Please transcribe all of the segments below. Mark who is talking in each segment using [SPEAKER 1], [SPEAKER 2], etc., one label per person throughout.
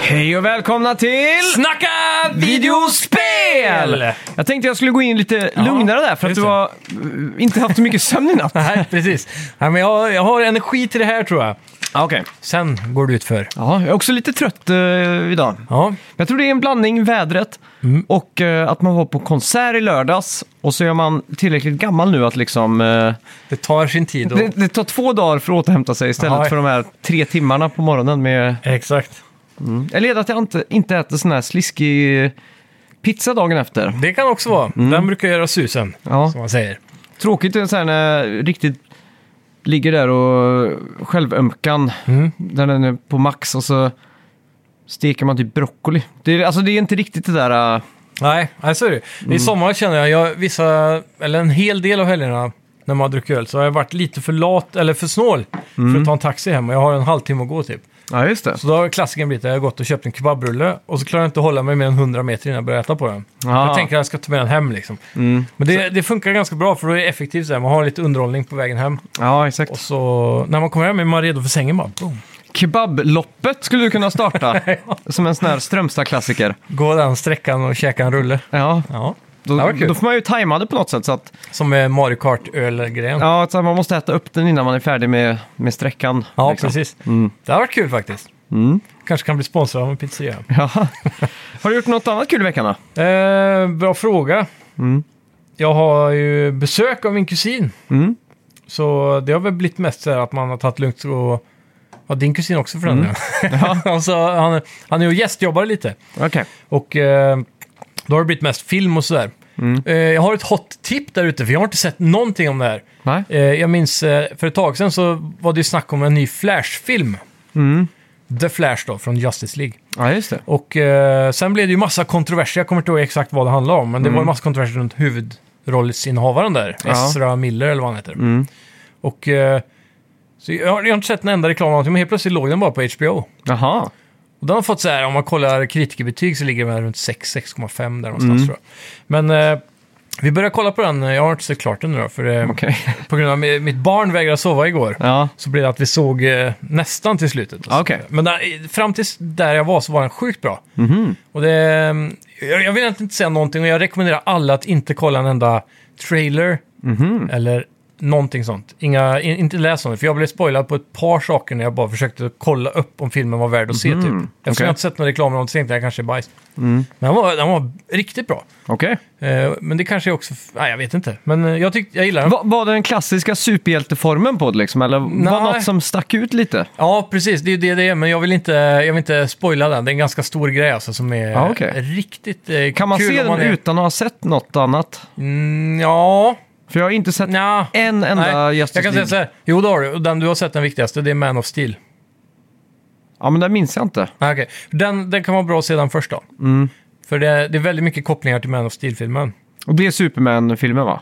[SPEAKER 1] Hej och välkomna till
[SPEAKER 2] Snacka videospel!
[SPEAKER 1] Jag tänkte jag skulle gå in lite lugnare där för att
[SPEAKER 2] just
[SPEAKER 1] du
[SPEAKER 2] det.
[SPEAKER 1] har eh, inte haft så mycket sömn i natt.
[SPEAKER 2] Nej, precis. Ja, men jag, jag har energi till det här tror jag.
[SPEAKER 1] Ja, Okej.
[SPEAKER 2] Sen går det ut för.
[SPEAKER 1] Ja, jag är också lite trött eh, idag. Men
[SPEAKER 2] Ja,
[SPEAKER 1] Jag tror det är en blandning, vädret och eh, att man var på konsert i lördags och så är man tillräckligt gammal nu att liksom... eh,
[SPEAKER 2] det tar sin tid. Och...
[SPEAKER 1] det, det tar två dagar för att återhämta sig istället
[SPEAKER 2] Ja.
[SPEAKER 1] för de här tre timmarna på morgonen med...
[SPEAKER 2] Exakt.
[SPEAKER 1] Eller är det att jag inte, inte äter sån här sliskig pizza dagen efter.
[SPEAKER 2] Det kan också vara. Den brukar göra susen,
[SPEAKER 1] Ja.
[SPEAKER 2] som man säger.
[SPEAKER 1] Tråkigt är så här när jag riktigt ligger där och självömkan, där den är på max och så steker man typ broccoli. Det är, alltså det är inte riktigt det där... äh,
[SPEAKER 2] Nej, nej så är det. I sommar känner jag, jag vissa, eller en hel del av helgerna när man har druckit öl, så har jag varit lite för lat, eller för snål, för att ta en taxi hem. Och jag har en halvtimme att gå typ.
[SPEAKER 1] Ja, just det.
[SPEAKER 2] Så då har klassiken blivit att jag har gått och köpt en kebabrulle och så klarar jag inte att hålla mig mer än 100 meter innan jag börjar äta på den.
[SPEAKER 1] Ah.
[SPEAKER 2] Jag tänker att jag ska ta med den hem liksom. Men det, det funkar ganska bra för då är det effektivt så här. Man har lite underhållning på vägen hem.
[SPEAKER 1] Ja,
[SPEAKER 2] Och
[SPEAKER 1] exakt.
[SPEAKER 2] så när man kommer hem är man redo för sängen bara. Boom.
[SPEAKER 1] Kebabloppet skulle du kunna starta som en sån här Strömstad-klassiker.
[SPEAKER 2] Gå den sträckan och käka en rulle.
[SPEAKER 1] Ja,
[SPEAKER 2] Ja.
[SPEAKER 1] då,
[SPEAKER 2] Det var kul.
[SPEAKER 1] då får man ju tajma det på något sätt så att
[SPEAKER 2] Som är Mario Kart-ölgrejen. Ja,
[SPEAKER 1] ja, så här, man måste äta upp den innan man är färdig med, med sträckan. liksom.
[SPEAKER 2] precis. Det har varit kul faktiskt. Kanske kan bli sponsrad av en pizzeria.
[SPEAKER 1] Ja. Har du gjort något annat kul i veckan då?
[SPEAKER 2] Eh, bra fråga. Jag har ju besök av min kusin.
[SPEAKER 1] Mm.
[SPEAKER 2] Så det har väl blivit mest så här att man har tagit lugnt och... Ja, din kusin också för den delen. alltså, han, han är ju gästjobbare lite.
[SPEAKER 1] Okej.
[SPEAKER 2] Och eh, då har det blivit mest film och sådär. Eh, jag har ett hot tip där ute, för jag har inte sett någonting om det här.
[SPEAKER 1] Nej.
[SPEAKER 2] Eh, jag minns eh, för ett tag sedan så var det ju snack om en ny Flash-film. The Flash då, från Justice League.
[SPEAKER 1] Mm. Ja, just det.
[SPEAKER 2] Och eh, sen blev det ju massa kontroverser, jag kommer inte ihåg exakt vad det handlade om, men det var en massa kontroverser runt huvudrollsinnehavaren där,
[SPEAKER 1] Mm. Ja. Mm.
[SPEAKER 2] Ezra Miller eller vad han heter. Och eh, så jag, har- jag har inte sett en enda reklam eller någonting, men helt plötsligt låg den bara på HBO.
[SPEAKER 1] Jaha.
[SPEAKER 2] Och den har fått så här, om man kollar kritikerbetyg så ligger den här runt 6, 6,5 där
[SPEAKER 1] Mm.
[SPEAKER 2] någonstans tror jag. Men eh, vi börjar kolla på den, jag har inte sett klart den nu då, för eh,
[SPEAKER 1] Okej.
[SPEAKER 2] på grund av mi- mitt barn vägrade sova igår.
[SPEAKER 1] Ja.
[SPEAKER 2] Så blev det att vi såg eh, nästan till slutet.
[SPEAKER 1] Ah, okej.
[SPEAKER 2] Men där, fram tills där jag var så var den sjukt bra.
[SPEAKER 1] Mhm.
[SPEAKER 2] Och det, jag, jag vill egentligen inte säga någonting och jag rekommenderar alla att inte kolla en enda trailer
[SPEAKER 1] Mhm.
[SPEAKER 2] eller någonting sånt. Inga, in, inte läs om det, för jag blev spoilad på ett par saker när jag bara försökte kolla upp om filmen var värd att se. Typ. Eftersom
[SPEAKER 1] Mhm. okej. Mm.
[SPEAKER 2] jag inte sett någon reklam eller något så tänkte jag kanske är bajs. Men den var, den var riktigt bra.
[SPEAKER 1] Okej.
[SPEAKER 2] Eh, men det kanske är också... Nej, jag vet inte. Men eh, jag, tyckte, jag gillar den.
[SPEAKER 1] Va, var det den klassiska superhjälteformen på det liksom? Eller var det
[SPEAKER 2] Nej.
[SPEAKER 1] något som stack ut lite?
[SPEAKER 2] Ja, precis. Det är ju det det är, men jag vill inte, jag vill inte spoila den. Det är en ganska stor grej alltså, som är
[SPEAKER 1] Ja, okej.
[SPEAKER 2] riktigt eh,
[SPEAKER 1] Kan man
[SPEAKER 2] kul
[SPEAKER 1] se
[SPEAKER 2] om
[SPEAKER 1] den
[SPEAKER 2] man är...
[SPEAKER 1] utan att ha sett något annat?
[SPEAKER 2] Mm, ja,
[SPEAKER 1] För jag har inte sett
[SPEAKER 2] nja.
[SPEAKER 1] en enda
[SPEAKER 2] Nej, jag
[SPEAKER 1] Justice
[SPEAKER 2] kan säga
[SPEAKER 1] League.
[SPEAKER 2] så här. Jo, det har du. Och Den du har sett den viktigaste, det är Man of Steel.
[SPEAKER 1] Ja, men det minns jag inte.
[SPEAKER 2] Ah, okej. Den, den kan vara bra att se den först då.
[SPEAKER 1] Mm.
[SPEAKER 2] För det, det är väldigt mycket kopplingar till Man of Steel-filmen.
[SPEAKER 1] Och det är Superman-filmen va?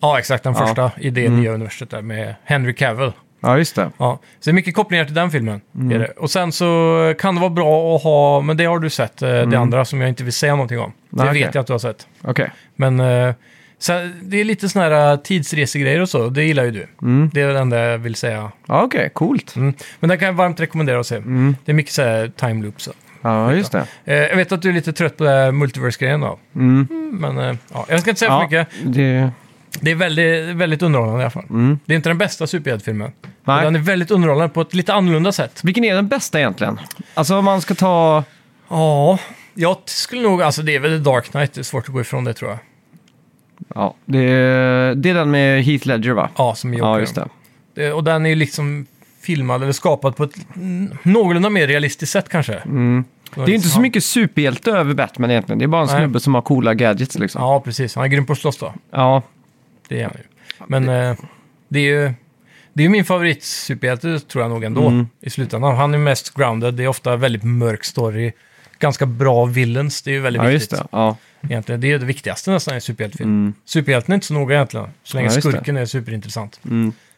[SPEAKER 2] Ja, exakt. Den
[SPEAKER 1] Ja. Mm.
[SPEAKER 2] första i det nya universet där med Henry Cavill.
[SPEAKER 1] Ja, just det.
[SPEAKER 2] Ja, så det är mycket kopplingar till den filmen.
[SPEAKER 1] Mm.
[SPEAKER 2] Är det. Och sen så kan det vara bra att ha, men det har du sett, eh, det andra som jag inte vill säga någonting om.
[SPEAKER 1] Mm. Nej,
[SPEAKER 2] det
[SPEAKER 1] okej.
[SPEAKER 2] vet jag att du har sett.
[SPEAKER 1] Okej.
[SPEAKER 2] Men eh, sen, det är lite sådana här eh, tidsresegrejer och så, det gillar ju du.
[SPEAKER 1] Mm.
[SPEAKER 2] Det är det enda jag vill säga.
[SPEAKER 1] Ja, okej. Coolt.
[SPEAKER 2] Mm. Men den kan jag varmt rekommendera att se.
[SPEAKER 1] Mm.
[SPEAKER 2] Det är mycket så här time loops. och-
[SPEAKER 1] Ja, just det.
[SPEAKER 2] Eh, jag vet att du är lite trött på det här multiverse-grejen då. Mm, Men eh, ja, jag ska inte säga för
[SPEAKER 1] Ja,
[SPEAKER 2] mycket.
[SPEAKER 1] det...
[SPEAKER 2] Det är väldigt, väldigt underhållande i alla fall. Det är inte den bästa superhjältefilmen.
[SPEAKER 1] Mm. Nej.
[SPEAKER 2] men Den är väldigt underhållande på ett lite annorlunda sätt.
[SPEAKER 1] Vilken är den bästa egentligen? Alltså om man ska ta...
[SPEAKER 2] Ja, jag t- skulle nog... Alltså det är väl The Dark Knight, det är svårt att gå ifrån det tror jag.
[SPEAKER 1] Ja, det är, det är den med Heath Ledger va?
[SPEAKER 2] Ja, som är
[SPEAKER 1] Ja,
[SPEAKER 2] Joker.
[SPEAKER 1] just det.
[SPEAKER 2] det. Och den är ju liksom filmad eller skapad på ett n- någorlunda mer realistiskt sätt kanske.
[SPEAKER 1] Mm.
[SPEAKER 2] liksom-
[SPEAKER 1] Det är inte så mycket superhjälte över Batman egentligen. Det är bara en
[SPEAKER 2] Nej.
[SPEAKER 1] snubbe som har coola gadgets liksom.
[SPEAKER 2] Ja, precis. Han är grym på att slåss då.
[SPEAKER 1] Ja,
[SPEAKER 2] Det är han ju. Men eh, det är ju... Det är ju min favorit superhjälte tror jag nog ändå
[SPEAKER 1] Mm.
[SPEAKER 2] i slutändan. Han är mest grounded. Det är ofta väldigt mörk story. Ganska bra villains. Det är ju väldigt
[SPEAKER 1] ja just
[SPEAKER 2] viktigt.
[SPEAKER 1] det. Mm. Ja.
[SPEAKER 2] Egentligen, det är ju det viktigaste nästan i en superhjältefilm. Superhjälten är inte så noga egentligen, så länge
[SPEAKER 1] Ja, just det. Mm.
[SPEAKER 2] skurken är superintressant.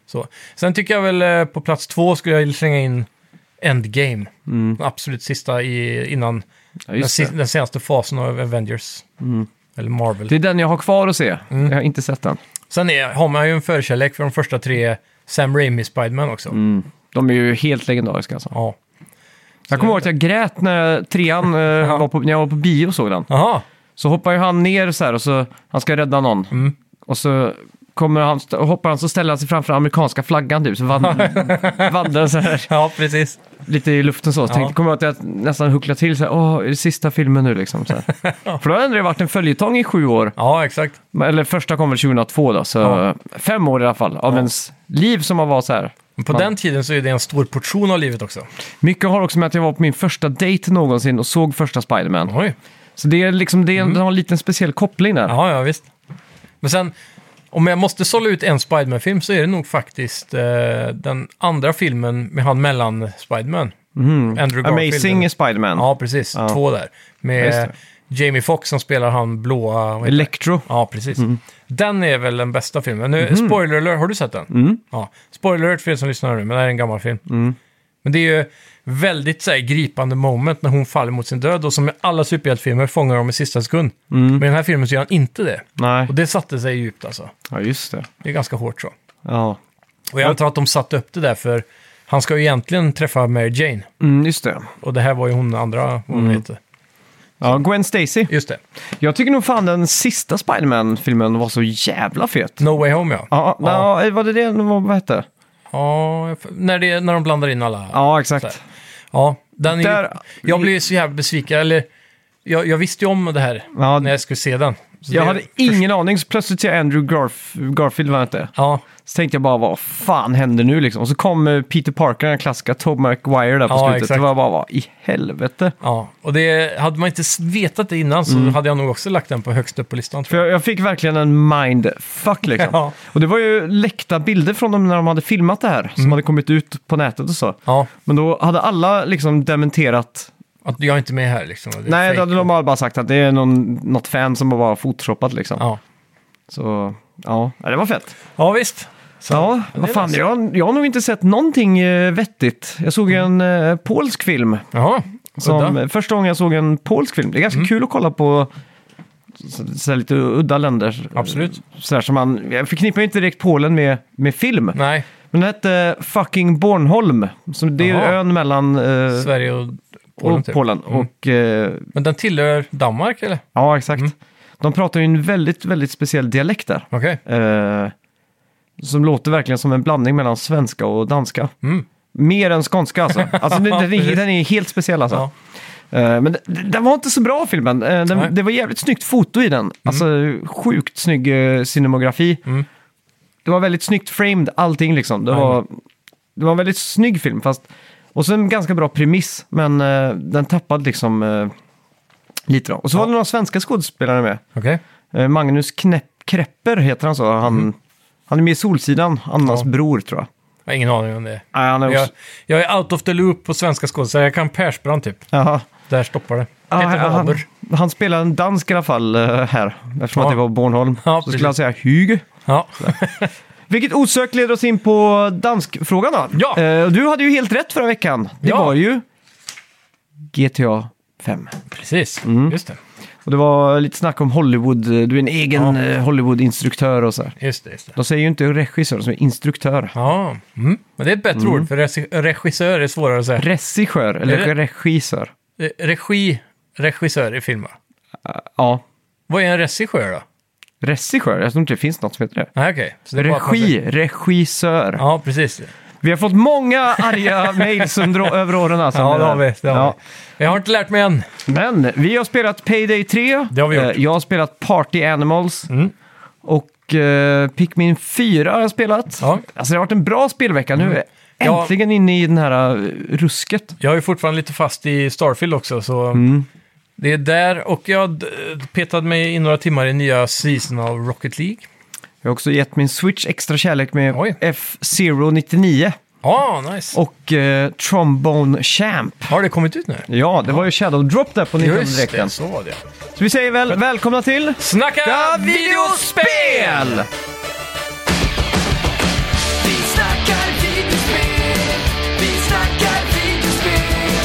[SPEAKER 2] Så. Sen tycker jag väl eh, på plats två skulle jag slänga in Endgame. Den absolut sista i, innan
[SPEAKER 1] Mm. Ja,
[SPEAKER 2] den,
[SPEAKER 1] just
[SPEAKER 2] si-
[SPEAKER 1] det. Mm.
[SPEAKER 2] den senaste fasen av Avengers. Eller Marvel.
[SPEAKER 1] Det är den jag har kvar att se. Jag har inte sett den.
[SPEAKER 2] Sen är, har man ju en förkärlek för de
[SPEAKER 1] Mm.
[SPEAKER 2] första tre Sam Raimi Spiderman också.
[SPEAKER 1] De är ju helt legendariska alltså.
[SPEAKER 2] Ja.
[SPEAKER 1] Jag kommer ihåg att jag grät när trean, eh, var på, när jag var på bio och såg den.
[SPEAKER 2] Jaha.
[SPEAKER 1] Så hoppar ju han ner så här och så, han ska rädda någon. Och så kommer han, st- hoppar han så ställer han sig framför amerikanska flaggan typ, så vand- vandrar så här
[SPEAKER 2] Ja, precis.
[SPEAKER 1] lite i luften så. så tänkte, kommer jag ihåg att jag nästan hucklade till så här, åh, är det sista filmen nu liksom? Så här. För då har ändå det varit en följetong i sju år.
[SPEAKER 2] Ja, exakt.
[SPEAKER 1] Eller första kom väl 2002 då, så
[SPEAKER 2] Ja.
[SPEAKER 1] fem år i alla fall av ens liv som har varit så här.
[SPEAKER 2] Men på
[SPEAKER 1] Ja.
[SPEAKER 2] den tiden så är det en stor portion av livet också.
[SPEAKER 1] Mycket har också med att jag var på min första dejt någonsin och såg första Spiderman.
[SPEAKER 2] Oj.
[SPEAKER 1] Så det är liksom, det är en, det har en liten speciell koppling där.
[SPEAKER 2] Mm. Ja, ja, visst. Men sen, om jag måste sålla ut en Spiderman-film så är det nog faktiskt eh, den andra filmen med han mellan Spiderman. Andrew Garfield.
[SPEAKER 1] Mm. Amazing Spiderman.
[SPEAKER 2] Ja, precis.
[SPEAKER 1] Ja.
[SPEAKER 2] Två där.
[SPEAKER 1] Just
[SPEAKER 2] Med
[SPEAKER 1] det.
[SPEAKER 2] Jamie Foxx som spelar han blåa... vad heter
[SPEAKER 1] Electro.
[SPEAKER 2] Ja, precis. Den är väl den bästa filmen. Nu, Spoiler alert, har du sett den? Ja. Spoiler alert för er som lyssnar nu, men det här är en gammal film. Men det är ju väldigt så här, gripande moment när hon faller mot sin död och som i alla superhjältefilmer fångar dem i sista sekund. Men i den här filmen så gör han inte det.
[SPEAKER 1] Nej,
[SPEAKER 2] Och det satte sig djupt alltså.
[SPEAKER 1] ja just det.
[SPEAKER 2] Det är ganska hårt så.
[SPEAKER 1] Ja,
[SPEAKER 2] Och jag antar att de satte upp det där för han ska ju egentligen träffa Mary Jane.
[SPEAKER 1] mm, just det.
[SPEAKER 2] Och det här var ju hon andra, vad hon heter.
[SPEAKER 1] Ja, Gwen Stacy.
[SPEAKER 2] Just det.
[SPEAKER 1] Jag tycker nog fan den sista Spiderman-filmen var så jävla fet.
[SPEAKER 2] No Way Home ja.
[SPEAKER 1] Ja, ja. var det det den var- vad hette?
[SPEAKER 2] Ja, när, det, när de blandar in alla.
[SPEAKER 1] Ja,
[SPEAKER 2] Så
[SPEAKER 1] exakt.
[SPEAKER 2] här. Ja, den är
[SPEAKER 1] Där-
[SPEAKER 2] ju, jag blev ju så jävla besviken. Eller, jag, jag visste ju om det här
[SPEAKER 1] Ja,
[SPEAKER 2] när jag skulle se den. Så
[SPEAKER 1] jag
[SPEAKER 2] det-
[SPEAKER 1] hade ingen aning, så plötsligt ser jag Andrew Garf- Garfield, vad han hette.
[SPEAKER 2] Ja,
[SPEAKER 1] Så tänkte jag bara, vad fan händer nu liksom? Och så kom eh, Peter Parker, den klassiska Tobey Maguire där på
[SPEAKER 2] Ja,
[SPEAKER 1] slutet.
[SPEAKER 2] exakt.
[SPEAKER 1] Det var bara, vad i helvete?
[SPEAKER 2] ja, och det, hade man inte s- vetat det innan
[SPEAKER 1] Mm.
[SPEAKER 2] så hade jag nog också lagt den på högst upp på listan.
[SPEAKER 1] För
[SPEAKER 2] Tror jag.
[SPEAKER 1] jag, jag fick verkligen en mindfuck liksom.
[SPEAKER 2] Ja.
[SPEAKER 1] Och det var ju läckta bilder från dem när de hade filmat det här,
[SPEAKER 2] Mm.
[SPEAKER 1] som hade kommit ut på nätet och så.
[SPEAKER 2] Ja,
[SPEAKER 1] Men då hade alla liksom dementerat.
[SPEAKER 2] att jag är inte med här liksom. och det är
[SPEAKER 1] Nej,
[SPEAKER 2] fake.
[SPEAKER 1] då hade de bara sagt att det är någon, något fan som har bara photoshoppat liksom.
[SPEAKER 2] ja.
[SPEAKER 1] Så, ja. ja, det var fett.
[SPEAKER 2] ja, visst. Så,
[SPEAKER 1] Ja, vad
[SPEAKER 2] det
[SPEAKER 1] fan,
[SPEAKER 2] löser.
[SPEAKER 1] jag, jag har nog inte sett någonting eh, vettigt. Jag såg
[SPEAKER 2] Mm.
[SPEAKER 1] en eh, polsk film.
[SPEAKER 2] Jaha,
[SPEAKER 1] Som,
[SPEAKER 2] udda. Mm.
[SPEAKER 1] eh, första gången jag såg en polsk film. Det är ganska kul att kolla på så, så här lite udda länder.
[SPEAKER 2] Absolut.
[SPEAKER 1] Så här, som man, jag förknippar ju inte direkt Polen med, med film.
[SPEAKER 2] Nej,
[SPEAKER 1] Men den hette Fucking Bornholm. Så det är ju
[SPEAKER 2] Jaha.
[SPEAKER 1] ön mellan eh,
[SPEAKER 2] Sverige och Polen.
[SPEAKER 1] och
[SPEAKER 2] Typ.
[SPEAKER 1] Polen. Och, eh,
[SPEAKER 2] Men den tillhör Danmark eller?
[SPEAKER 1] ja, exakt.
[SPEAKER 2] Mm.
[SPEAKER 1] De pratar ju en väldigt, väldigt speciell dialekt där.
[SPEAKER 2] Okej.
[SPEAKER 1] Eh, som låter verkligen som en blandning mellan svenska och danska.
[SPEAKER 2] Mm.
[SPEAKER 1] Mer än skånska alltså. alltså den, den, är,
[SPEAKER 2] Precis.
[SPEAKER 1] den är helt speciell alltså.
[SPEAKER 2] Ja.
[SPEAKER 1] Eh, Men d- d- den var inte så bra filmen. Eh,
[SPEAKER 2] Nej.
[SPEAKER 1] Den, det var jävligt snyggt foto i den. Alltså sjukt snygg eh, cinemografi.
[SPEAKER 2] Mm.
[SPEAKER 1] Det var väldigt snyggt framed allting liksom. Det var, det var en väldigt snygg film fast... Och så en ganska bra premiss men eh, den tappade liksom eh, lite då. Och så var det några svenska skådespelare med.
[SPEAKER 2] Okej.
[SPEAKER 1] Eh, Magnus Knäpp, Krepper heter han så. Han, han är med i Solsidan, Annas
[SPEAKER 2] Mm. Ja.
[SPEAKER 1] bror tror jag.
[SPEAKER 2] Jag har ingen aning om det är.
[SPEAKER 1] Nej, han är
[SPEAKER 2] Jag,
[SPEAKER 1] också...
[SPEAKER 2] jag är out of the loop på svenska skådespelare. Jag kan Persbrandt typ.
[SPEAKER 1] Jaha.
[SPEAKER 2] Där stoppar det.
[SPEAKER 1] Ja,
[SPEAKER 2] Peter
[SPEAKER 1] han-
[SPEAKER 2] Haber.
[SPEAKER 1] Han, han spelar en dansk i alla fall eh, här, eftersom
[SPEAKER 2] Ja.
[SPEAKER 1] att det var Bornholm.
[SPEAKER 2] Ja,
[SPEAKER 1] så
[SPEAKER 2] precis.
[SPEAKER 1] skulle han säga Hug.
[SPEAKER 2] Ja.
[SPEAKER 1] Vilket osökt leder oss in på danskfrågan då.
[SPEAKER 2] Ja.
[SPEAKER 1] Eh, du hade ju helt rätt förra veckan. Det
[SPEAKER 2] Ja.
[SPEAKER 1] var ju GTA 5.
[SPEAKER 2] Precis, just det.
[SPEAKER 1] Och det var lite snack om Hollywood, du är en egen eh, Hollywood-instruktör och så här.
[SPEAKER 2] Just det, just det.
[SPEAKER 1] De säger ju inte regissör, som är instruktör.
[SPEAKER 2] Ja, mm. men det är ett bättre ord för regi- regissör är svårare att säga.
[SPEAKER 1] Regissör, eller
[SPEAKER 2] Är det-
[SPEAKER 1] regissör.
[SPEAKER 2] Eh, Regi, regissör i filmer.
[SPEAKER 1] Ja,
[SPEAKER 2] Vad är en regissör då?
[SPEAKER 1] regissör. Jag tror inte det finns något som heter det.
[SPEAKER 2] Nej, okej. Så det är bara att man säger-
[SPEAKER 1] Regi, regissör.
[SPEAKER 2] Ja, precis.
[SPEAKER 1] Vi har fått många arga mails under över åren alltså.
[SPEAKER 2] Ja, det har vi. Det har vi. Jag har inte lärt mig än.
[SPEAKER 1] Men vi har spelat Payday 3.
[SPEAKER 2] Det har vi gjort. Mm.
[SPEAKER 1] Eh, Jag har spelat Party Animals. Och eh, Pikmin 4 har jag spelat.
[SPEAKER 2] Ja. Mm.
[SPEAKER 1] Alltså det har varit en bra spelvecka. Nu är jag
[SPEAKER 2] Ja.
[SPEAKER 1] äntligen inne i den här eh, rusket.
[SPEAKER 2] Jag är ju fortfarande lite fast i Starfield också, så det är där. Och jag d- petade mig in några timmar i nya season av Rocket League.
[SPEAKER 1] Jag har också gett min Switch extra kärlek med
[SPEAKER 2] Oj.
[SPEAKER 1] F-099
[SPEAKER 2] Ja, Ah, nice.
[SPEAKER 1] och eh, Trombone Champ.
[SPEAKER 2] Har det kommit ut nu?
[SPEAKER 1] Ja, det var ju Shadow Drop där på 19
[SPEAKER 2] Just
[SPEAKER 1] direkten.
[SPEAKER 2] det,
[SPEAKER 1] Så
[SPEAKER 2] så var det.
[SPEAKER 1] vi säger väl välkomna till...
[SPEAKER 2] Snacka videospel!
[SPEAKER 3] Vi snackar videospel, vi snackar videospel,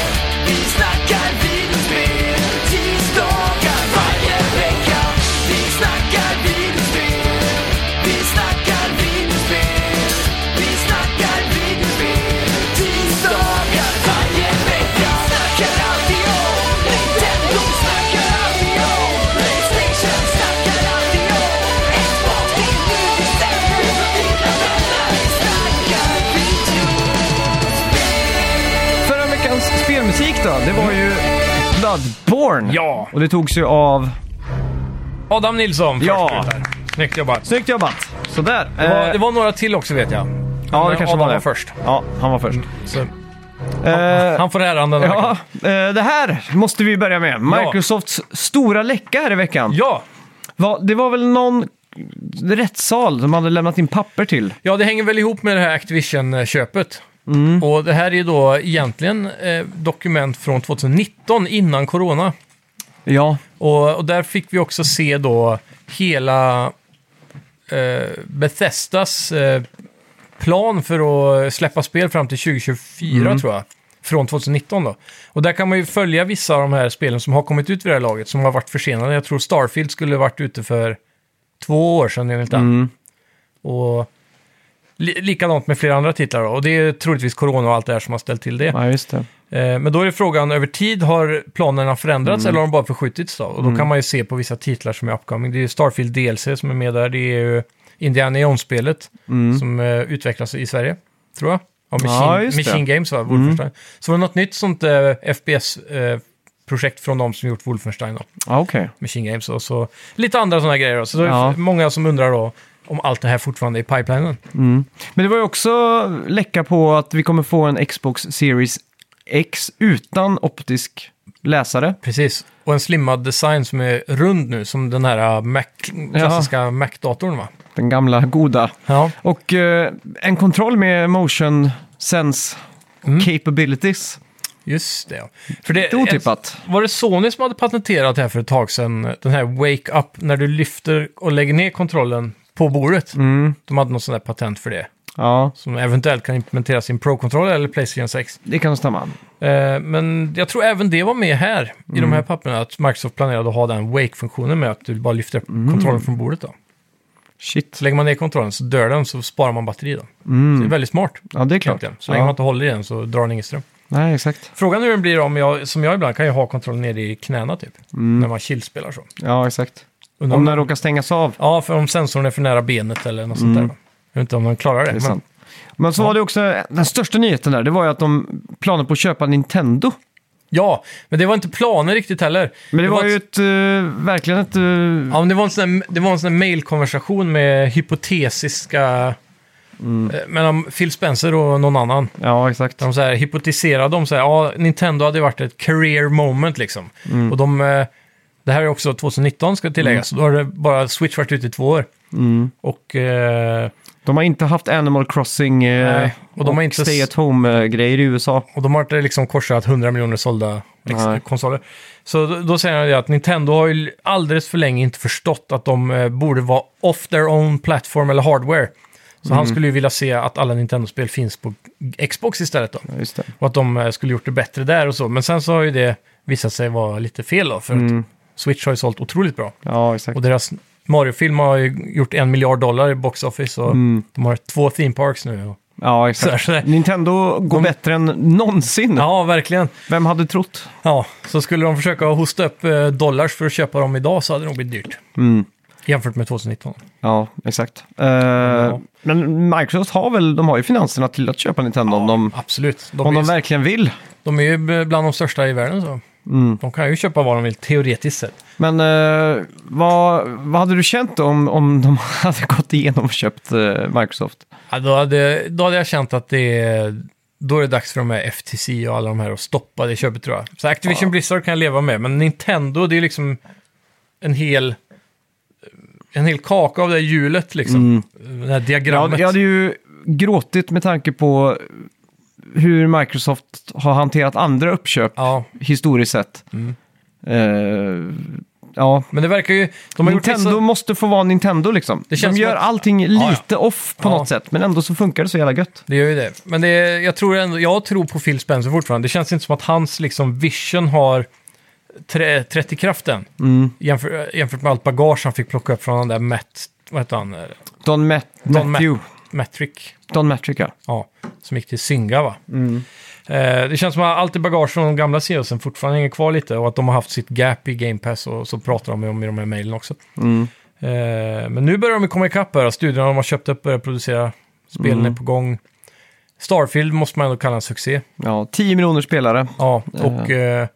[SPEAKER 3] vi snackar videospel, tisdagar varje vecka. Vi snackar videospel, vi snackar videospel, vi snackar videospel, tisdagar varje vecka.
[SPEAKER 1] spelmusik då? Det var ju Bloodborne.
[SPEAKER 2] Ja.
[SPEAKER 1] Och det togs ju av...
[SPEAKER 2] Adam Nilsson först
[SPEAKER 1] Ja. Eh.
[SPEAKER 2] ut där. Snyggt jobbat.
[SPEAKER 1] Snyggt jobbat! Sådär.
[SPEAKER 2] Det var, det var några till också vet jag.
[SPEAKER 1] ja, det
[SPEAKER 2] men
[SPEAKER 1] kanske
[SPEAKER 2] Adam
[SPEAKER 1] var det.
[SPEAKER 2] var först. Mm.
[SPEAKER 1] Ja, han var först.
[SPEAKER 2] Så
[SPEAKER 1] Eh,
[SPEAKER 2] han får äran den här
[SPEAKER 1] Ja,
[SPEAKER 2] veckan.
[SPEAKER 1] eh, det här måste vi börja med. Microsofts stora läcka här i veckan.
[SPEAKER 2] ja.
[SPEAKER 1] Va- Det var väl någon rättssal de hade lämnat in papper till.
[SPEAKER 2] Ja, det hänger väl ihop med det här Activision-köpet.
[SPEAKER 1] Mm.
[SPEAKER 2] Och det här är ju då egentligen eh, dokument från 2019, innan corona.
[SPEAKER 1] Ja,
[SPEAKER 2] Och, och där fick vi också se då hela eh, Bethesdas eh, plan för att släppa spel fram till 2024 tror jag. Från 2019 då. Och där kan man ju följa vissa av de här spelen som har kommit ut vid det här laget som har varit försenade. Jag tror Starfield skulle varit ute för två år sedan enligt den. Och li- likadant med flera andra titlar då. Och det är troligtvis corona och allt det här som har ställt till det.
[SPEAKER 1] ja just det.
[SPEAKER 2] Eh, Men då är frågan, över tid har planerna
[SPEAKER 1] Mm.
[SPEAKER 2] förändrats eller har de bara förskjutits då? Och då kan man ju se på vissa titlar som är upcoming. Det är ju Starfield DLC som är med där. Det är ju Indiana Jones-spelet
[SPEAKER 1] Mm.
[SPEAKER 2] som eh, utvecklas i Sverige, tror jag. Av
[SPEAKER 1] Ja,
[SPEAKER 2] Machine,
[SPEAKER 1] just det. Mm.
[SPEAKER 2] Machine Games, va? Wolfenstein. Så var det något nytt sånt eh, FPS-projekt eh, från de som gjort Wolfenstein då.
[SPEAKER 1] Ja, okej.
[SPEAKER 2] Machine Games och så lite andra sådana grejer då. Så då är det
[SPEAKER 1] Ja.
[SPEAKER 2] många som undrar då om allt det här fortfarande är i pipelinen.
[SPEAKER 1] Mm. Men det var ju också läcka på att vi kommer få en Xbox Series X utan optisk läsare.
[SPEAKER 2] Precis, och en slimmad design som är rund nu, som den här äh, Mac, klassiska Mac-datorn va?
[SPEAKER 1] Den gamla goda.
[SPEAKER 2] Ja.
[SPEAKER 1] Och eh, en kontroll med motion sense capabilities.
[SPEAKER 2] Just det. ja. Mm. För det
[SPEAKER 1] Lite otippat.
[SPEAKER 2] Var det Sony som hade patenterat det här för ett tag sedan? Den här Wake Up, när du lyfter och lägger ner kontrollen på bordet.
[SPEAKER 1] Mm.
[SPEAKER 2] De hade något sånt där patent för det.
[SPEAKER 1] Ja,
[SPEAKER 2] Som eventuellt kan implementeras i en Pro-kontroll eller Playstation 6.
[SPEAKER 1] det kan stämma.
[SPEAKER 2] Eh, men jag tror även det var med här, i
[SPEAKER 1] Mm.
[SPEAKER 2] de här papperna, att Microsoft planerade att ha den Wake-funktionen med att du bara lyfter upp
[SPEAKER 1] Mm.
[SPEAKER 2] kontrollen från bordet då.
[SPEAKER 1] Shit.
[SPEAKER 2] Så lägger man ner kontrollen så dör den så sparar man batteri då. Så det är väldigt smart.
[SPEAKER 1] Mm. Ja, det är klart.
[SPEAKER 2] egentligen. Så länge man
[SPEAKER 1] Ja.
[SPEAKER 2] inte håller i den så drar den ingen ström.
[SPEAKER 1] Nej, exakt.
[SPEAKER 2] Frågan är hur den blir om jag, som jag ibland, kan ju ha kontrollen nere i knäna typ. När man chillspelar så.
[SPEAKER 1] Ja, exakt.
[SPEAKER 2] Undrar
[SPEAKER 1] Mm. Om den råkar stängas av.
[SPEAKER 2] Ja, för om sensorn är för nära benet eller något sånt där. va? Jag vet inte om de klarar det.
[SPEAKER 1] Mm. Det är
[SPEAKER 2] men-
[SPEAKER 1] sant. Men så var det också, den största nyheten där, det var ju att de planer på att köpa Nintendo.
[SPEAKER 2] ja, men det var inte planer riktigt heller.
[SPEAKER 1] Men det, var, ju
[SPEAKER 2] ett-
[SPEAKER 1] ett, eh, verkligen ett... eh,
[SPEAKER 2] Ja, men det var en sån där, det var en sån där mailkonversation med hypotesiska...
[SPEAKER 1] Mm.
[SPEAKER 2] eh, Mellan Phil Spencer och någon annan.
[SPEAKER 1] ja, exakt.
[SPEAKER 2] De så här hypotiserade om så här, ja, Nintendo hade ju varit ett career moment liksom.
[SPEAKER 1] Mm.
[SPEAKER 2] Och de, eh, det här är också 2019 ska tilläggas, så då har det bara Switch varit ute i två år. Och, eh,
[SPEAKER 1] Mm. De har inte haft Animal Crossing eh,
[SPEAKER 2] Nej, och
[SPEAKER 1] och,
[SPEAKER 2] de har inte s-
[SPEAKER 1] Stay at Home-grejer i USA.
[SPEAKER 2] och de har inte liksom korsat 100 miljoner sålda ex-
[SPEAKER 1] Nej.
[SPEAKER 2] konsoler. Så då, då säger jag ju att Nintendo har ju alldeles för länge inte förstått att de eh, borde vara off their own platform eller hardware. Så han skulle ju vilja se att alla Nintendo-spel finns på Xbox istället då.
[SPEAKER 1] Ja, Just det.
[SPEAKER 2] Och att de eh, skulle gjort det bättre där och så. Men sen så har ju det visat sig vara lite fel då. För att Switch har ju sålt otroligt bra.
[SPEAKER 1] Ja, exakt.
[SPEAKER 2] Och deras Mario-film har ju gjort en miljard dollar i box office. Och de har två theme parks nu. Och...
[SPEAKER 1] ja,
[SPEAKER 2] Så här,
[SPEAKER 1] exakt.
[SPEAKER 2] så här.
[SPEAKER 1] Nintendo går
[SPEAKER 2] De-
[SPEAKER 1] bättre än någonsin.
[SPEAKER 2] Ja, verkligen.
[SPEAKER 1] Vem hade trott?
[SPEAKER 2] Ja, så skulle de försöka hosta upp eh, dollars för att köpa dem idag så hade det nog blivit dyrt.
[SPEAKER 1] Mm.
[SPEAKER 2] Jämfört med 2019.
[SPEAKER 1] Ja, exakt. Eh, Men Microsoft har väl, de har ju finanserna till att köpa Nintendo om, de,
[SPEAKER 2] Absolut. De,
[SPEAKER 1] om
[SPEAKER 2] är,
[SPEAKER 1] de
[SPEAKER 2] ju-
[SPEAKER 1] verkligen vill. Mm.
[SPEAKER 2] de är ju bland de största i världen. Så. De kan ju köpa vad de vill, teoretiskt sett.
[SPEAKER 1] Men eh, vad, vad hade du känt om, om de hade gått igenom och köpt eh, Microsoft?
[SPEAKER 2] Ja, då, hade, då hade jag känt att det är, då är det dags för de här FTC och alla de här att stoppa det köpet tror jag. Så Activision Blizzard kan jag leva med, men Nintendo det är liksom en hel, en hel kaka av det här hjulet
[SPEAKER 1] Mm.
[SPEAKER 2] liksom. Det här
[SPEAKER 1] Jag,
[SPEAKER 2] diagrammet.
[SPEAKER 1] jag hade ju gråtit med tanke på hur Microsoft har hanterat andra uppköp
[SPEAKER 2] Ja,
[SPEAKER 1] historiskt sett.
[SPEAKER 2] Mm.
[SPEAKER 1] Eh, ja,
[SPEAKER 2] men det verkar ju... De har gjort
[SPEAKER 1] Nintendo
[SPEAKER 2] vissa-
[SPEAKER 1] måste få vara Nintendo liksom.
[SPEAKER 2] Det känns
[SPEAKER 1] de
[SPEAKER 2] som
[SPEAKER 1] gör
[SPEAKER 2] att-
[SPEAKER 1] allting
[SPEAKER 2] ja.
[SPEAKER 1] lite off på
[SPEAKER 2] Ja.
[SPEAKER 1] något sätt, men ändå så funkar det så jävla gött.
[SPEAKER 2] Det gör ju det. Men det är, jag, tror ändå, jag tror på Phil Spencer fortfarande. Det känns inte som att hans liksom, vision har trä- trätt i kraften. Jämför, jämfört med allt bagage han fick plocka upp från den där Matt, vad heter han? Eh,
[SPEAKER 1] Don, Matt,
[SPEAKER 2] Don
[SPEAKER 1] Matthew.
[SPEAKER 2] Mattrick.
[SPEAKER 1] Don Matrick, ja.
[SPEAKER 2] Ja, som gick till Synga va? Eh, det känns som att allt i bagage från de gamla CEOsen fortfarande hänger kvar lite och att de har haft sitt gap i Game Pass och så pratar de om i de här mejlen också.
[SPEAKER 1] Mm.
[SPEAKER 2] Eh, men nu börjar de ju komma ikapp här. Studierna de har köpt upp börjar producera. Spelen är på gång. Starfield måste man ändå kalla en succé.
[SPEAKER 1] Ja, 10 miljoner spelare.
[SPEAKER 2] Ja, och eh,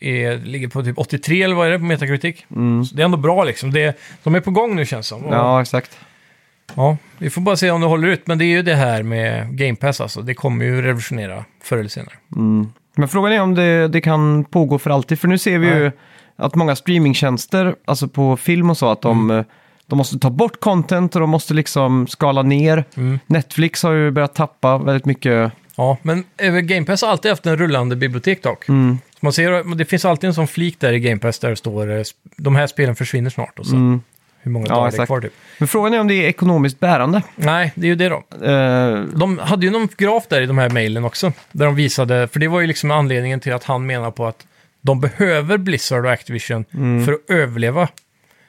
[SPEAKER 2] är, ligger på typ 83 eller vad är det på Metacritic. Så det är ändå bra liksom. Det, de är på gång nu känns det som. Och-
[SPEAKER 1] Mm. Ja, exakt.
[SPEAKER 2] ja, vi får bara se om det håller ut. Men det är ju det här med Game Pass alltså. Det kommer ju revolutionera förr eller senare.
[SPEAKER 1] Mm. Men frågan är om det, det kan pågå för alltid. För nu ser vi ju
[SPEAKER 2] Nej.
[SPEAKER 1] att många streamingtjänster, alltså på film och så, att de,
[SPEAKER 2] Mm.
[SPEAKER 1] eh, de måste ta bort content och de måste liksom skala ner. Netflix har ju börjat tappa väldigt mycket.
[SPEAKER 2] Ja, men eh, Game Pass har alltid haft en rullande bibliotek
[SPEAKER 1] Mm.
[SPEAKER 2] dock. Så man ser, det finns alltid en sån flik där i Game Pass där det står eh, sp- de här spelen försvinner snart och så. Hur många
[SPEAKER 1] Mm. Ja,
[SPEAKER 2] dagar det är
[SPEAKER 1] exakt.
[SPEAKER 2] kvar typ.
[SPEAKER 1] Men frågan är om det är ekonomiskt bärande.
[SPEAKER 2] Nej, det är ju det då.
[SPEAKER 1] Eh,
[SPEAKER 2] De hade ju någon graf där i de här mejlen också. Där de visade, för det var ju liksom anledningen till att han menar på att de behöver Blizzard och Activision för att överleva.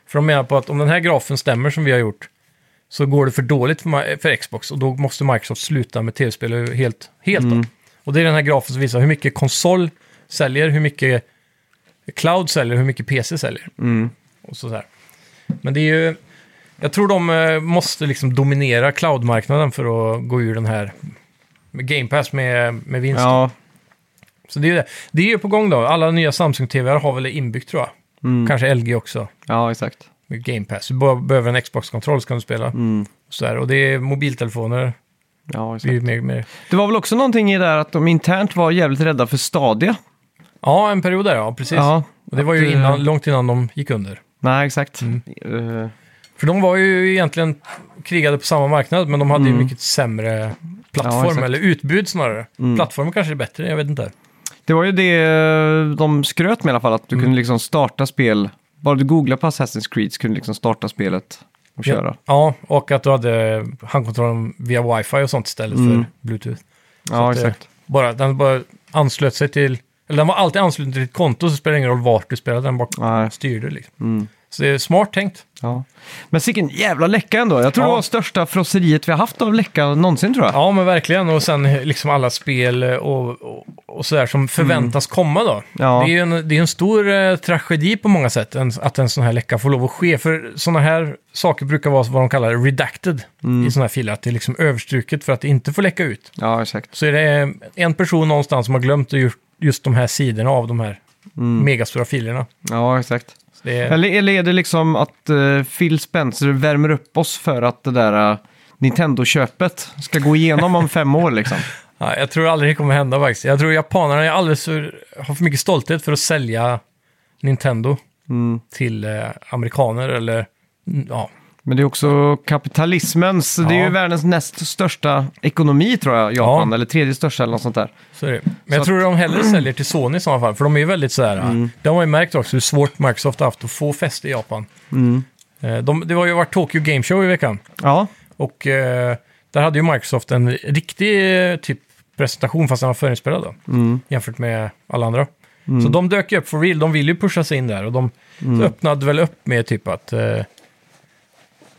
[SPEAKER 2] För de menar på att om den här grafen stämmer som vi har gjort så går det för dåligt för, Ma- för Xbox och då måste Microsoft sluta med tv-spel helt. helt då. Och det är den här grafen som visar hur mycket konsol säljer, hur mycket cloud säljer, hur mycket PC säljer.
[SPEAKER 1] Mm.
[SPEAKER 2] Och så där. Men det är ju... Jag tror de eh, måste liksom dominera cloud-marknaden för att gå ur den här med Game Pass med, med vinst.
[SPEAKER 1] ja,
[SPEAKER 2] Så det är, ju det. det är ju på gång då. Alla nya Samsung-TVar har väl det inbyggt tror jag.
[SPEAKER 1] Mm.
[SPEAKER 2] Kanske LG också
[SPEAKER 1] ja, exakt.
[SPEAKER 2] med Game Pass. Du bara behöver en Xbox-kontroll så kan du spela.
[SPEAKER 1] Mm.
[SPEAKER 2] Och, så där. och det är mobiltelefoner.
[SPEAKER 1] Ja,
[SPEAKER 2] Det är ju
[SPEAKER 1] exakt.
[SPEAKER 2] mer, mer...
[SPEAKER 1] Det var väl också någonting i det här att de internt var jävligt rädda för Stadia.
[SPEAKER 2] Ja, en period där ja, precis.
[SPEAKER 1] Ja,
[SPEAKER 2] och det var
[SPEAKER 1] att,
[SPEAKER 2] ju
[SPEAKER 1] eh,
[SPEAKER 2] innan, långt innan de gick under.
[SPEAKER 1] Nej, exakt.
[SPEAKER 2] Mm.
[SPEAKER 1] Eh,
[SPEAKER 2] För de var ju egentligen krigade på samma marknad, men de hade ju mycket sämre
[SPEAKER 1] Mm. Ja,
[SPEAKER 2] plattform,
[SPEAKER 1] exakt. Mm.
[SPEAKER 2] eller utbud snarare. Plattformen kanske är bättre, jag vet inte.
[SPEAKER 1] Det var ju det eh, de skröt med i alla fall,
[SPEAKER 2] Mm.
[SPEAKER 1] att du kunde liksom starta spel. Bara du googlade på Assassin's Creed så kunde du liksom starta spelet och köra.
[SPEAKER 2] Ja, och att du hade handkontrollen via wifi och sånt istället
[SPEAKER 1] Mm.
[SPEAKER 2] för bluetooth.
[SPEAKER 1] Ja,
[SPEAKER 2] att, eh,
[SPEAKER 1] exakt.
[SPEAKER 2] Bara, den bara anslöt sig till, eller den var alltid ansluten till ditt konto så spelar det ingen roll vart du spelade, den bara
[SPEAKER 1] Nej.
[SPEAKER 2] styrde liksom.
[SPEAKER 1] Mm.
[SPEAKER 2] Så det är smart tänkt.
[SPEAKER 1] Ja. Men sicken jävla läcka ändå. Jag tror
[SPEAKER 2] Ja.
[SPEAKER 1] det var största frosseriet vi har haft av läcka någonsin tror jag.
[SPEAKER 2] Ja, men verkligen. Och sen liksom alla spel och, och, och sådär som förväntas komma då.
[SPEAKER 1] Ja.
[SPEAKER 2] Det är ju en, det är en stor eh, tragedi på många sätt en, att en sån här läcka får lov att ske. För sådana här saker brukar vara vad de kallar redacted
[SPEAKER 1] Mm.
[SPEAKER 2] i sådana här filer. Att det är liksom överstruket för att det inte får läcka ut.
[SPEAKER 1] Ja, exakt.
[SPEAKER 2] Så är det eh, en person någonstans som har glömt att gjort just de här sidorna av de här megastora filerna.
[SPEAKER 1] Mm. Ja, exakt.
[SPEAKER 2] Så det är,
[SPEAKER 1] Eller, eller är det liksom att eh, Phil Spencer värmer upp oss för att det där eh, Nintendo-köpet ska gå igenom om fem år liksom?
[SPEAKER 2] ja, jag tror aldrig det kommer hända faktiskt. Jag tror japanerna är alldeles för, har för mycket stolthet för att sälja Nintendo
[SPEAKER 1] Mm.
[SPEAKER 2] till eh, amerikaner eller mm, ja,
[SPEAKER 1] Men det är också kapitalismens, det är
[SPEAKER 2] Ja.
[SPEAKER 1] ju världens näst största ekonomi tror jag, Japan, eller tredje största eller något sånt där.
[SPEAKER 2] så är det. Men jag
[SPEAKER 1] att-
[SPEAKER 2] tror de hellre säljer till Sony i sådana fall, för de är ju väldigt sådär. Mm. De har ju märkt också hur svårt Microsoft har haft att få fäste i Japan. Eh, De, det har ju varit Tokyo Game Show i veckan.
[SPEAKER 1] Ja,
[SPEAKER 2] Och eh, där hade ju Microsoft en riktig eh, typ presentation fast den var förinspelad då, jämfört med alla andra. Så de dök ju upp for real, de ville ju pusha sig in där och de så öppnade väl upp med typ att... Eh,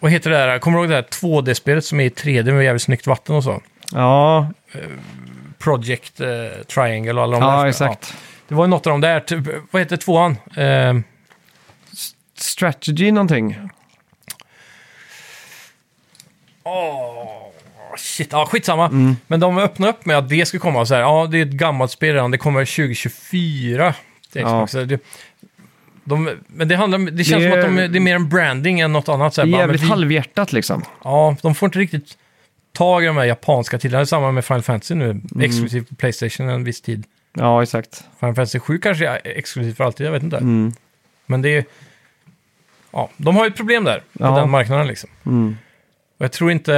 [SPEAKER 2] vad heter det där, kommer du ihåg det här 2D-spelet som är i 3D med jävligt snyggt vatten och så?
[SPEAKER 1] ja,
[SPEAKER 2] Project eh, Triangle och alla de där.
[SPEAKER 1] ja
[SPEAKER 2] spelen.
[SPEAKER 1] exakt.
[SPEAKER 2] Ja. Det var ju något av de där, typ, vad heter tvåan? Eh,
[SPEAKER 1] Strategy någonting.
[SPEAKER 2] Åh, shit. Ja, skitsamma.
[SPEAKER 1] Mm.
[SPEAKER 2] Men de öppnade upp med att det skulle komma så här. Ja, det är ett gammalt spel redan. Det kommer 2024. till
[SPEAKER 1] Ja.
[SPEAKER 2] Xbox. Så Det, de, men det, handlar, om- det känns
[SPEAKER 1] Det är-
[SPEAKER 2] som att de, det är mer en branding än något annat. Så här,
[SPEAKER 1] Det är
[SPEAKER 2] bara, men
[SPEAKER 1] jävligt
[SPEAKER 2] vi-
[SPEAKER 1] halvhjärtat liksom.
[SPEAKER 2] Ja, de får inte riktigt tag i de här japanska titlarna. Det är samma med Final Fantasy nu.
[SPEAKER 1] Mm.
[SPEAKER 2] Exklusivt på Playstation en viss tid.
[SPEAKER 1] Ja, exakt. Mm.
[SPEAKER 2] Final Fantasy 7 kanske är exklusivt för alltid, jag vet inte. Men det är... Ja, de har ju ett problem där, på
[SPEAKER 1] Ja.
[SPEAKER 2] den marknaden liksom.
[SPEAKER 1] Mm.
[SPEAKER 2] Och jag tror inte...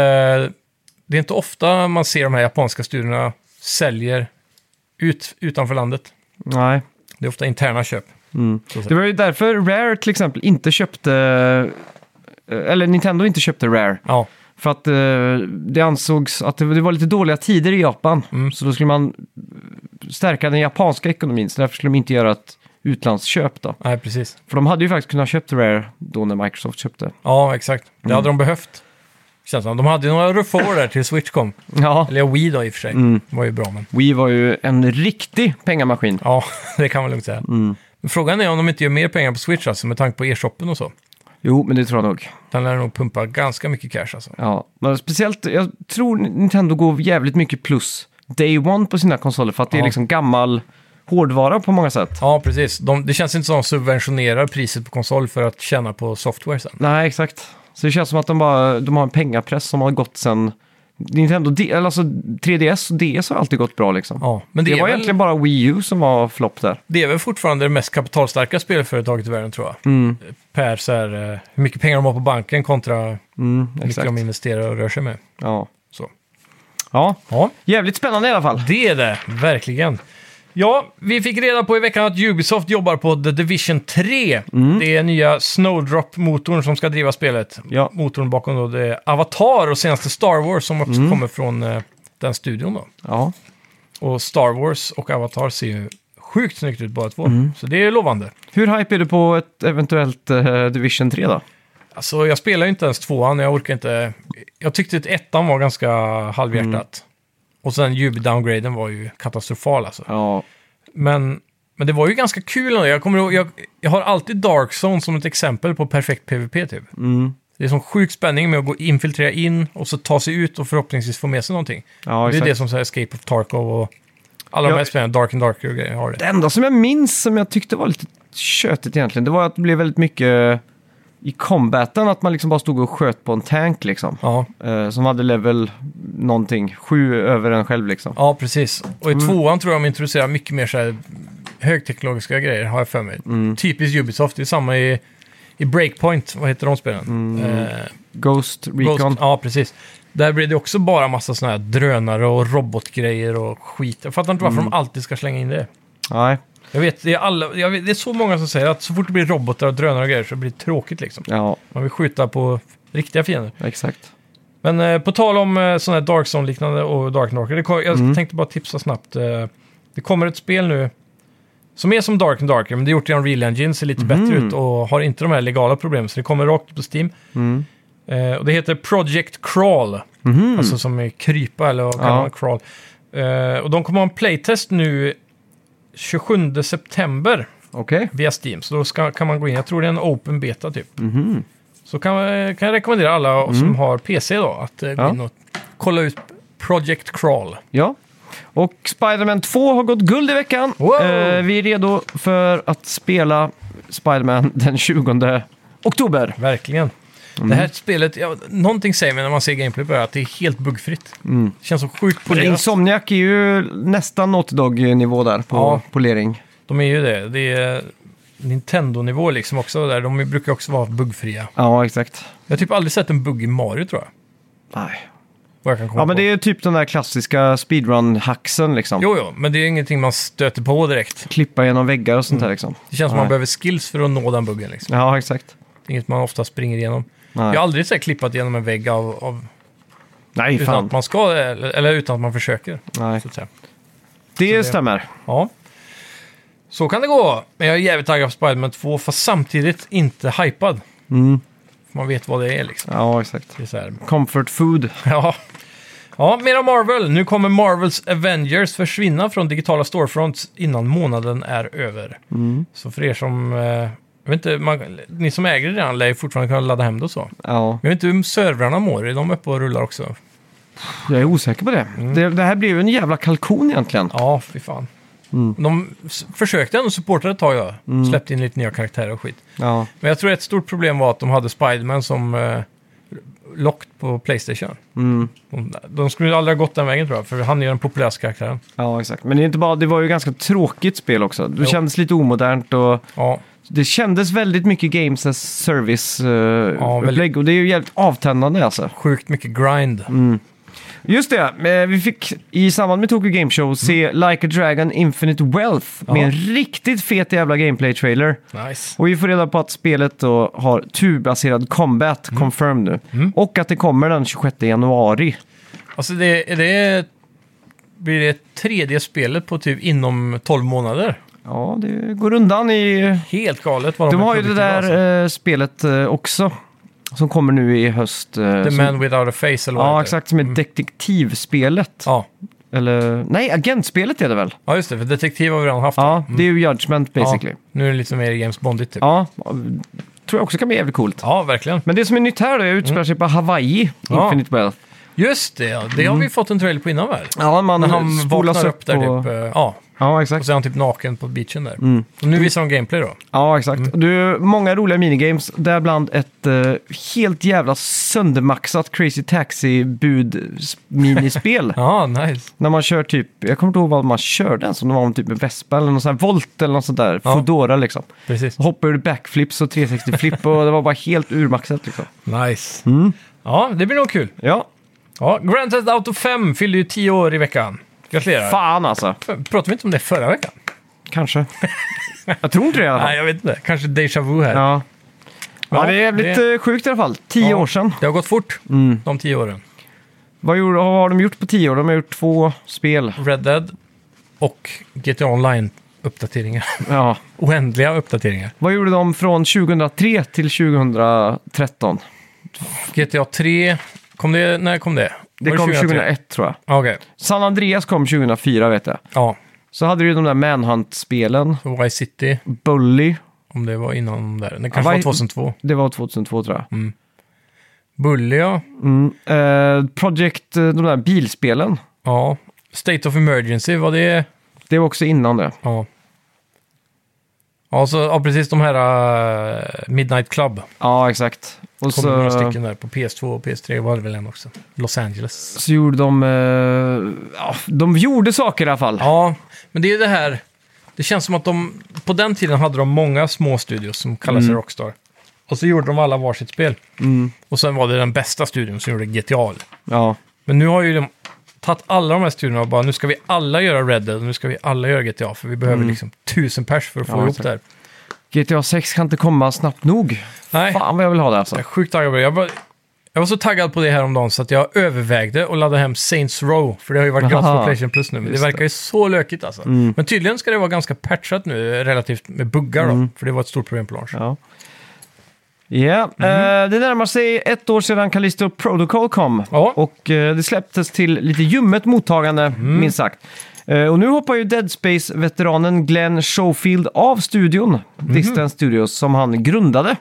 [SPEAKER 2] Det är inte ofta man ser de här japanska studierna säljer ut, utanför landet.
[SPEAKER 1] Nej. Mm.
[SPEAKER 2] Det är ofta interna köp.
[SPEAKER 1] Det var ju därför Rare till exempel inte köpte, eh, eller Nintendo inte köpte Rare.
[SPEAKER 2] Ja,
[SPEAKER 1] För att eh, det ansågs att det, det var lite dåliga tider i Japan. Så då skulle man stärka den japanska ekonomin. Så därför skulle de inte göra ett utlandsköp då.
[SPEAKER 2] nej precis.
[SPEAKER 1] För de hade ju faktiskt kunnat köpt Rare då när Microsoft köpte.
[SPEAKER 2] Ja, exakt. Det hade de behövt. Känns som. De hade ju några ruffa år där till Switch kom.
[SPEAKER 1] Ja,
[SPEAKER 2] Eller ja, Wii då i och för sig. Det var ju bra, men...
[SPEAKER 1] Wii var ju en riktig pengamaskin.
[SPEAKER 2] Ja, det kan man lugnt säga. Men frågan är om de inte gör mer pengar på Switch alltså, med tanke på e-shoppen och så.
[SPEAKER 1] Jo, men det tror jag nog.
[SPEAKER 2] Den lär nog pumpa ganska mycket cash alltså.
[SPEAKER 1] Ja, men speciellt, jag tror Nintendo går jävligt mycket plus day one på sina konsoler för att det är
[SPEAKER 2] Ja.
[SPEAKER 1] liksom gammal hårdvara på många sätt.
[SPEAKER 2] Ja, precis. De, det känns inte som att de subventionerar priset på konsol för att tjäna på software sen.
[SPEAKER 1] Nej, exakt. Så det känns som att de, bara, de har en pengapress som har gått sen... Nintendo, D- eller alltså 3DS och DS har alltid gått bra liksom.
[SPEAKER 2] Ja, men det,
[SPEAKER 1] det,
[SPEAKER 2] är
[SPEAKER 1] var
[SPEAKER 2] väl,
[SPEAKER 1] egentligen bara Wii U som var flopp där.
[SPEAKER 2] det är väl fortfarande det mest kapitalstarka spelföretaget i världen tror jag.
[SPEAKER 1] Mm.
[SPEAKER 2] Per så här, eh, hur mycket pengar de har på banken kontra hur
[SPEAKER 1] Mm,
[SPEAKER 2] mycket
[SPEAKER 1] exakt.
[SPEAKER 2] de investerar och rör sig med.
[SPEAKER 1] Ja.
[SPEAKER 2] Så.
[SPEAKER 1] ja,
[SPEAKER 2] Ja,
[SPEAKER 1] jävligt spännande i alla fall.
[SPEAKER 2] det är det, verkligen. Ja, vi fick reda på i veckan att Ubisoft jobbar på The Division 3.
[SPEAKER 1] Mm.
[SPEAKER 2] Det är nya Snowdrop-motorn som ska driva spelet.
[SPEAKER 1] Ja.
[SPEAKER 2] Motorn bakom då det är Avatar och senaste Star Wars som
[SPEAKER 1] Mm.
[SPEAKER 2] också kommer från eh, den studion då.
[SPEAKER 1] Ja,
[SPEAKER 2] Och Star Wars och Avatar ser ju sjukt snyggt ut båda två.
[SPEAKER 1] Mm.
[SPEAKER 2] Så det är lovande.
[SPEAKER 1] Hur hype är du på ett eventuellt eh, Division 3 då?
[SPEAKER 2] Alltså jag spelar ju inte ens tvåan, jag orkar inte. Jag tyckte att ettan var ganska halvhjärtat.
[SPEAKER 1] Mm.
[SPEAKER 2] Och sen Ubi-downgraden var ju katastrofal alltså.
[SPEAKER 1] Ja,
[SPEAKER 2] Men, men det var ju ganska kul ändå. Jag, kommer ihåg, jag, jag har alltid Dark Zone som ett exempel på perfekt PVP typ.
[SPEAKER 1] Mm.
[SPEAKER 2] Det är som sjuk spänning med att gå infiltrera in och så ta sig ut och förhoppningsvis få med sig någonting.
[SPEAKER 1] ja
[SPEAKER 2] det är
[SPEAKER 1] exakt.
[SPEAKER 2] det som säger Escape of Tarkov och alla
[SPEAKER 1] Ja.
[SPEAKER 2] de här spelen, Dark and Darker och grejer har det.
[SPEAKER 1] Det enda som jag minns som jag tyckte var lite tjötigt egentligen, det var att det blev väldigt mycket eh, i combaten, att man liksom bara stod och sköt på en tank liksom.
[SPEAKER 2] Ja,
[SPEAKER 1] Eh, som hade level någonting, sju över en själv liksom.
[SPEAKER 2] ja precis. Och i tvåan tror jag de introducerar mycket mer så här högteknologiska grejer, har jag för mig. Typiskt Ubisoft, det är samma i, i Breakpoint, vad heter de spelen? Eh,
[SPEAKER 1] Ghost Recon.
[SPEAKER 2] Ghost- ja, precis. Där blir det också bara massa såna här drönare och robotgrejer och skit. Jag fattar inte varför de alltid ska slänga in det.
[SPEAKER 1] Nej,
[SPEAKER 2] Jag vet, det är alla, jag vet, det är så många som säger att så fort det blir robotar och drönare och grejer så blir det tråkigt liksom.
[SPEAKER 1] ja,
[SPEAKER 2] Man vill skjuta på riktiga fiender.
[SPEAKER 1] exakt.
[SPEAKER 2] Men eh, på tal om eh, sådana här Dark Zone-liknande och Dark Darker, det kom, jag tänkte bara tipsa snabbt. Eh, det kommer ett spel nu som är som Dark and Darker, men det är gjort i Unreal Engine, ser lite bättre ut och har inte de här legala problemen, så det kommer rakt upp på Steam.
[SPEAKER 1] Mm.
[SPEAKER 2] Eh, och det heter Project Crawl, alltså som är krypa eller vad kallar
[SPEAKER 1] Ja.
[SPEAKER 2] man crawl. Eh, och de kommer ha en playtest nu 27 september
[SPEAKER 1] Okej.
[SPEAKER 2] via Steam, så då ska, kan man gå in. Jag tror det är en open beta typ. Så kan, jag- kan jag rekommendera alla som har PC då att eh, gå
[SPEAKER 1] Mm. Ja.
[SPEAKER 2] in och kolla ut Project Crawl.
[SPEAKER 1] Ja. Och Spider-Man 2 har gått guld i veckan.
[SPEAKER 2] Wow!
[SPEAKER 1] Eh, vi är redo för att spela Spider-Man den 20 oktober.
[SPEAKER 2] Verkligen.
[SPEAKER 1] Mm.
[SPEAKER 2] Det här spelet, ja, någonting säger mig när man ser gameplay på det här att det är helt buggfritt. Känns så sjukt polerat.
[SPEAKER 1] Insomniac Mm. är ju nästan Naughty Dog-nivå där på
[SPEAKER 2] Ja.
[SPEAKER 1] polering.
[SPEAKER 2] De är ju det. Det är eh, Nintendo-nivå liksom också. Där. De brukar också vara buggfria.
[SPEAKER 1] Ja, exakt.
[SPEAKER 2] Jag har typ aldrig sett en bugg i Mario tror jag.
[SPEAKER 1] Nej.
[SPEAKER 2] Vad jag kan komma
[SPEAKER 1] Ja, men
[SPEAKER 2] på.
[SPEAKER 1] det är ju typ den där klassiska speedrun-hacksen liksom.
[SPEAKER 2] Jo, jo, men det är ingenting man stöter på direkt.
[SPEAKER 1] Klippa genom väggar och sånt där liksom.
[SPEAKER 2] Det känns som
[SPEAKER 1] Nej.
[SPEAKER 2] man behöver skills för att nå den buggen. Liksom.
[SPEAKER 1] Ja, exakt.
[SPEAKER 2] Det är inget man ofta springer igenom.
[SPEAKER 1] Nej,
[SPEAKER 2] Jag har aldrig så här, klippat igenom en vägg av, av,
[SPEAKER 1] Nej
[SPEAKER 2] utan
[SPEAKER 1] fan.
[SPEAKER 2] att man ska, eller, eller utan att man försöker.
[SPEAKER 1] Nej.
[SPEAKER 2] Så att säga.
[SPEAKER 1] Det stämmer.
[SPEAKER 2] Ja. Så kan det gå. Men jag är jävligt taggad på Spiderman 2, fast samtidigt inte hypad.
[SPEAKER 1] Mm.
[SPEAKER 2] Man vet vad det är liksom.
[SPEAKER 1] Ja, exakt.
[SPEAKER 2] Det är så här,
[SPEAKER 1] Comfort food.
[SPEAKER 2] Ja. ja, mer om Marvel. Nu kommer Marvels Avengers försvinna från digitala storefronts innan månaden är över.
[SPEAKER 1] Mm.
[SPEAKER 2] Så för er som... eh, Jag vet inte, man, ni som äger det redan lär ju fortfarande kunna ladda hem det och så.
[SPEAKER 1] Ja,
[SPEAKER 2] Jag vet inte hur servrarna mår. Är de uppe och rullar också?
[SPEAKER 1] jag är osäker på det.
[SPEAKER 2] Mm.
[SPEAKER 1] Det, det här blev ju en jävla kalkon egentligen.
[SPEAKER 2] Ja, fy fan.
[SPEAKER 1] Mm.
[SPEAKER 2] De s- försökte ändå supporta ett tag, ja. Släppte in lite nya karaktärer och skit.
[SPEAKER 1] Ja,
[SPEAKER 2] Men jag tror ett stort problem var att de hade Spiderman som eh, lockt på Playstation.
[SPEAKER 1] mm.
[SPEAKER 2] De, de skulle ju aldrig ha gått den vägen tror jag, för han är ju den populäraste karaktären.
[SPEAKER 1] ja exakt. Men det, är inte bara, det var ju ganska tråkigt spel också. Det
[SPEAKER 2] Jo.
[SPEAKER 1] kändes lite omodernt och
[SPEAKER 2] Ja,
[SPEAKER 1] det kändes väldigt mycket games as
[SPEAKER 2] Ja, väldigt-
[SPEAKER 1] service-upplägg. och det är ju jävligt avtändande alltså.
[SPEAKER 2] sjukt mycket grind.
[SPEAKER 1] Mm. Just det, eh, vi fick i samband med Tokyo Game Show se Like a Dragon Infinite Wealth med
[SPEAKER 2] Mm. Ja.
[SPEAKER 1] en riktigt fet jävla gameplay-trailer.
[SPEAKER 2] Nice.
[SPEAKER 1] Och vi får reda på att spelet då har turbaserad combat
[SPEAKER 2] Mm.
[SPEAKER 1] confirmed nu. Och att det kommer den 26 januari.
[SPEAKER 2] Alltså det, är det, blir det tredje spelet på typ inom 12 månader.
[SPEAKER 1] Ja, det går undan i...
[SPEAKER 2] Helt galet vad de
[SPEAKER 1] De
[SPEAKER 2] är
[SPEAKER 1] har ju det
[SPEAKER 2] produktiva,
[SPEAKER 1] där
[SPEAKER 2] alltså.
[SPEAKER 1] eh, spelet eh, också. Som kommer nu i höst. eh,
[SPEAKER 2] The
[SPEAKER 1] som,
[SPEAKER 2] Man Without a Face eller vad det
[SPEAKER 1] Ja,
[SPEAKER 2] heter.
[SPEAKER 1] exakt. Som är detektivspelet.
[SPEAKER 2] Ja.
[SPEAKER 1] Eller... Nej, agentspelet är det väl?
[SPEAKER 2] ja, just det. För detektiv har vi redan haft.
[SPEAKER 1] Ja, det är ju Judgment basically.
[SPEAKER 2] Ja, nu är det lite mer James Bondigt typ.
[SPEAKER 1] Ja, tror jag också kan bli jävligt coolt.
[SPEAKER 2] Ja, verkligen.
[SPEAKER 1] Men det som är nytt här då, är utspelar sig på Hawaii,
[SPEAKER 2] Ja.
[SPEAKER 1] Infinite Wealth.
[SPEAKER 2] Just det, ja. det har vi fått en trailer på innan väl?
[SPEAKER 1] Ja, man
[SPEAKER 2] När han
[SPEAKER 1] Mm. spolas
[SPEAKER 2] vaknar
[SPEAKER 1] upp
[SPEAKER 2] upp där
[SPEAKER 1] på... Mm.
[SPEAKER 2] typ. eh, Ja,
[SPEAKER 1] Ja,
[SPEAKER 2] och
[SPEAKER 1] exakt.
[SPEAKER 2] så är han typ naken på beachen där. Och nu visar de gameplay då.
[SPEAKER 1] Ja, exakt.
[SPEAKER 2] Mm.
[SPEAKER 1] Du, många roliga minigames, däribland ett eh, helt jävla söndermaxat Crazy Taxi-bud-minispel.
[SPEAKER 2] Ja, nice.
[SPEAKER 1] När man kör typ, jag kommer inte ihåg vad man körde ens, om det var en typ en Vespa eller någon sån här Volt eller något sånt där,
[SPEAKER 2] Ja.
[SPEAKER 1] Foodora liksom.
[SPEAKER 2] Precis.
[SPEAKER 1] Hoppar ur backflips och 360-flip och det var bara helt urmaxat liksom.
[SPEAKER 2] Nice.
[SPEAKER 1] Mm.
[SPEAKER 2] Ja, det blir nog kul.
[SPEAKER 1] Ja,
[SPEAKER 2] Ja, Grand Theft Auto 5 fyllde ju 10 år i veckan. Gratulerar.
[SPEAKER 1] fan alltså.
[SPEAKER 2] Pratade vi inte om det förra veckan?
[SPEAKER 1] Kanske. jag tror inte det i alla fall.
[SPEAKER 2] Nej, jag vet inte. Kanske Deja Vu här.
[SPEAKER 1] Ja. Ja,
[SPEAKER 2] Ja,
[SPEAKER 1] det är jävligt
[SPEAKER 2] det-
[SPEAKER 1] eh, sjukt i alla fall. Tio
[SPEAKER 2] Ja.
[SPEAKER 1] år sedan. Mm.
[SPEAKER 2] Det har gått fort, de 10 åren.
[SPEAKER 1] Vad, gjorde, vad har de gjort på tio år? De har gjort två spel.
[SPEAKER 2] Red Dead och GTA Online-uppdateringar.
[SPEAKER 1] Ja.
[SPEAKER 2] Oändliga uppdateringar.
[SPEAKER 1] Vad gjorde de från 2003 till 2013?
[SPEAKER 2] GTA 3, kom det, när kom det?
[SPEAKER 1] Det
[SPEAKER 2] Var
[SPEAKER 1] kom
[SPEAKER 2] 2003?
[SPEAKER 1] 2001 tror jag.
[SPEAKER 2] Ja, Okej,
[SPEAKER 1] San Andreas kom 2004 vet jag.
[SPEAKER 2] ja.
[SPEAKER 1] Så hade du ju de där Manhunt-spelen.
[SPEAKER 2] så Vice City,
[SPEAKER 1] Bully,
[SPEAKER 2] om det var innan där. Det kanske
[SPEAKER 1] Ja,
[SPEAKER 2] var
[SPEAKER 1] Vice-
[SPEAKER 2] 2002.
[SPEAKER 1] det var 2002 tror jag.
[SPEAKER 2] Bully, ja.
[SPEAKER 1] Mm. Eh, Project, eh, de där bilspelen.
[SPEAKER 2] ja. State of Emergency, var det...
[SPEAKER 1] Det var också innan det.
[SPEAKER 2] Ja. Ja, så, ja precis de här äh, Midnight Club.
[SPEAKER 1] Ja, exakt. Och
[SPEAKER 2] Kom några
[SPEAKER 1] så,
[SPEAKER 2] stycken där på PS2 och PS3 var det väl en också. Los Angeles.
[SPEAKER 1] så gjorde de... Eh, ja, de gjorde saker i alla fall.
[SPEAKER 2] Ja, men det är ju det här. Det känns som att de, på den tiden hade de många små studios som kallades
[SPEAKER 1] Mm.
[SPEAKER 2] sig Rockstar. Och så gjorde de alla varsitt spel. Och sen var det den bästa studion som gjorde GTA.
[SPEAKER 1] Ja.
[SPEAKER 2] Men nu har ju de tagit alla de här studiorna och bara nu ska vi alla göra Red Dead och nu ska vi alla göra GTA. För vi behöver liksom tusen pers för att få
[SPEAKER 1] Mm. Ja,
[SPEAKER 2] ihop
[SPEAKER 1] exakt.
[SPEAKER 2] det här.
[SPEAKER 1] GTA 6 kan inte komma snabbt nog.
[SPEAKER 2] Nej,
[SPEAKER 1] Fan vad jag vill ha det alltså.
[SPEAKER 2] jag är sjukt taggad på det. Jag var, jag var så taggad på det här om dagen så att jag övervägde att ladda hem Saints Row. För det har ju varit gratis
[SPEAKER 1] Aha.
[SPEAKER 2] på Playstation Plus nu. Men det
[SPEAKER 1] Just Mm.
[SPEAKER 2] verkar ju så lökigt alltså. Men tydligen ska det vara ganska patchat nu relativt med buggar
[SPEAKER 1] Mm.
[SPEAKER 2] då. För det var ett stort problem på launch.
[SPEAKER 1] Ja. Ja,
[SPEAKER 2] Mm.
[SPEAKER 1] eh, det närmar sig ett år sedan Callisto Protocol kom.
[SPEAKER 2] Ja.
[SPEAKER 1] Och eh, det släpptes till lite ljummet mottagande, minst sagt. Eh, och nu hoppar ju Dead Space-veteranen Glenn Schofield av studion, Distance Studios, som han grundade.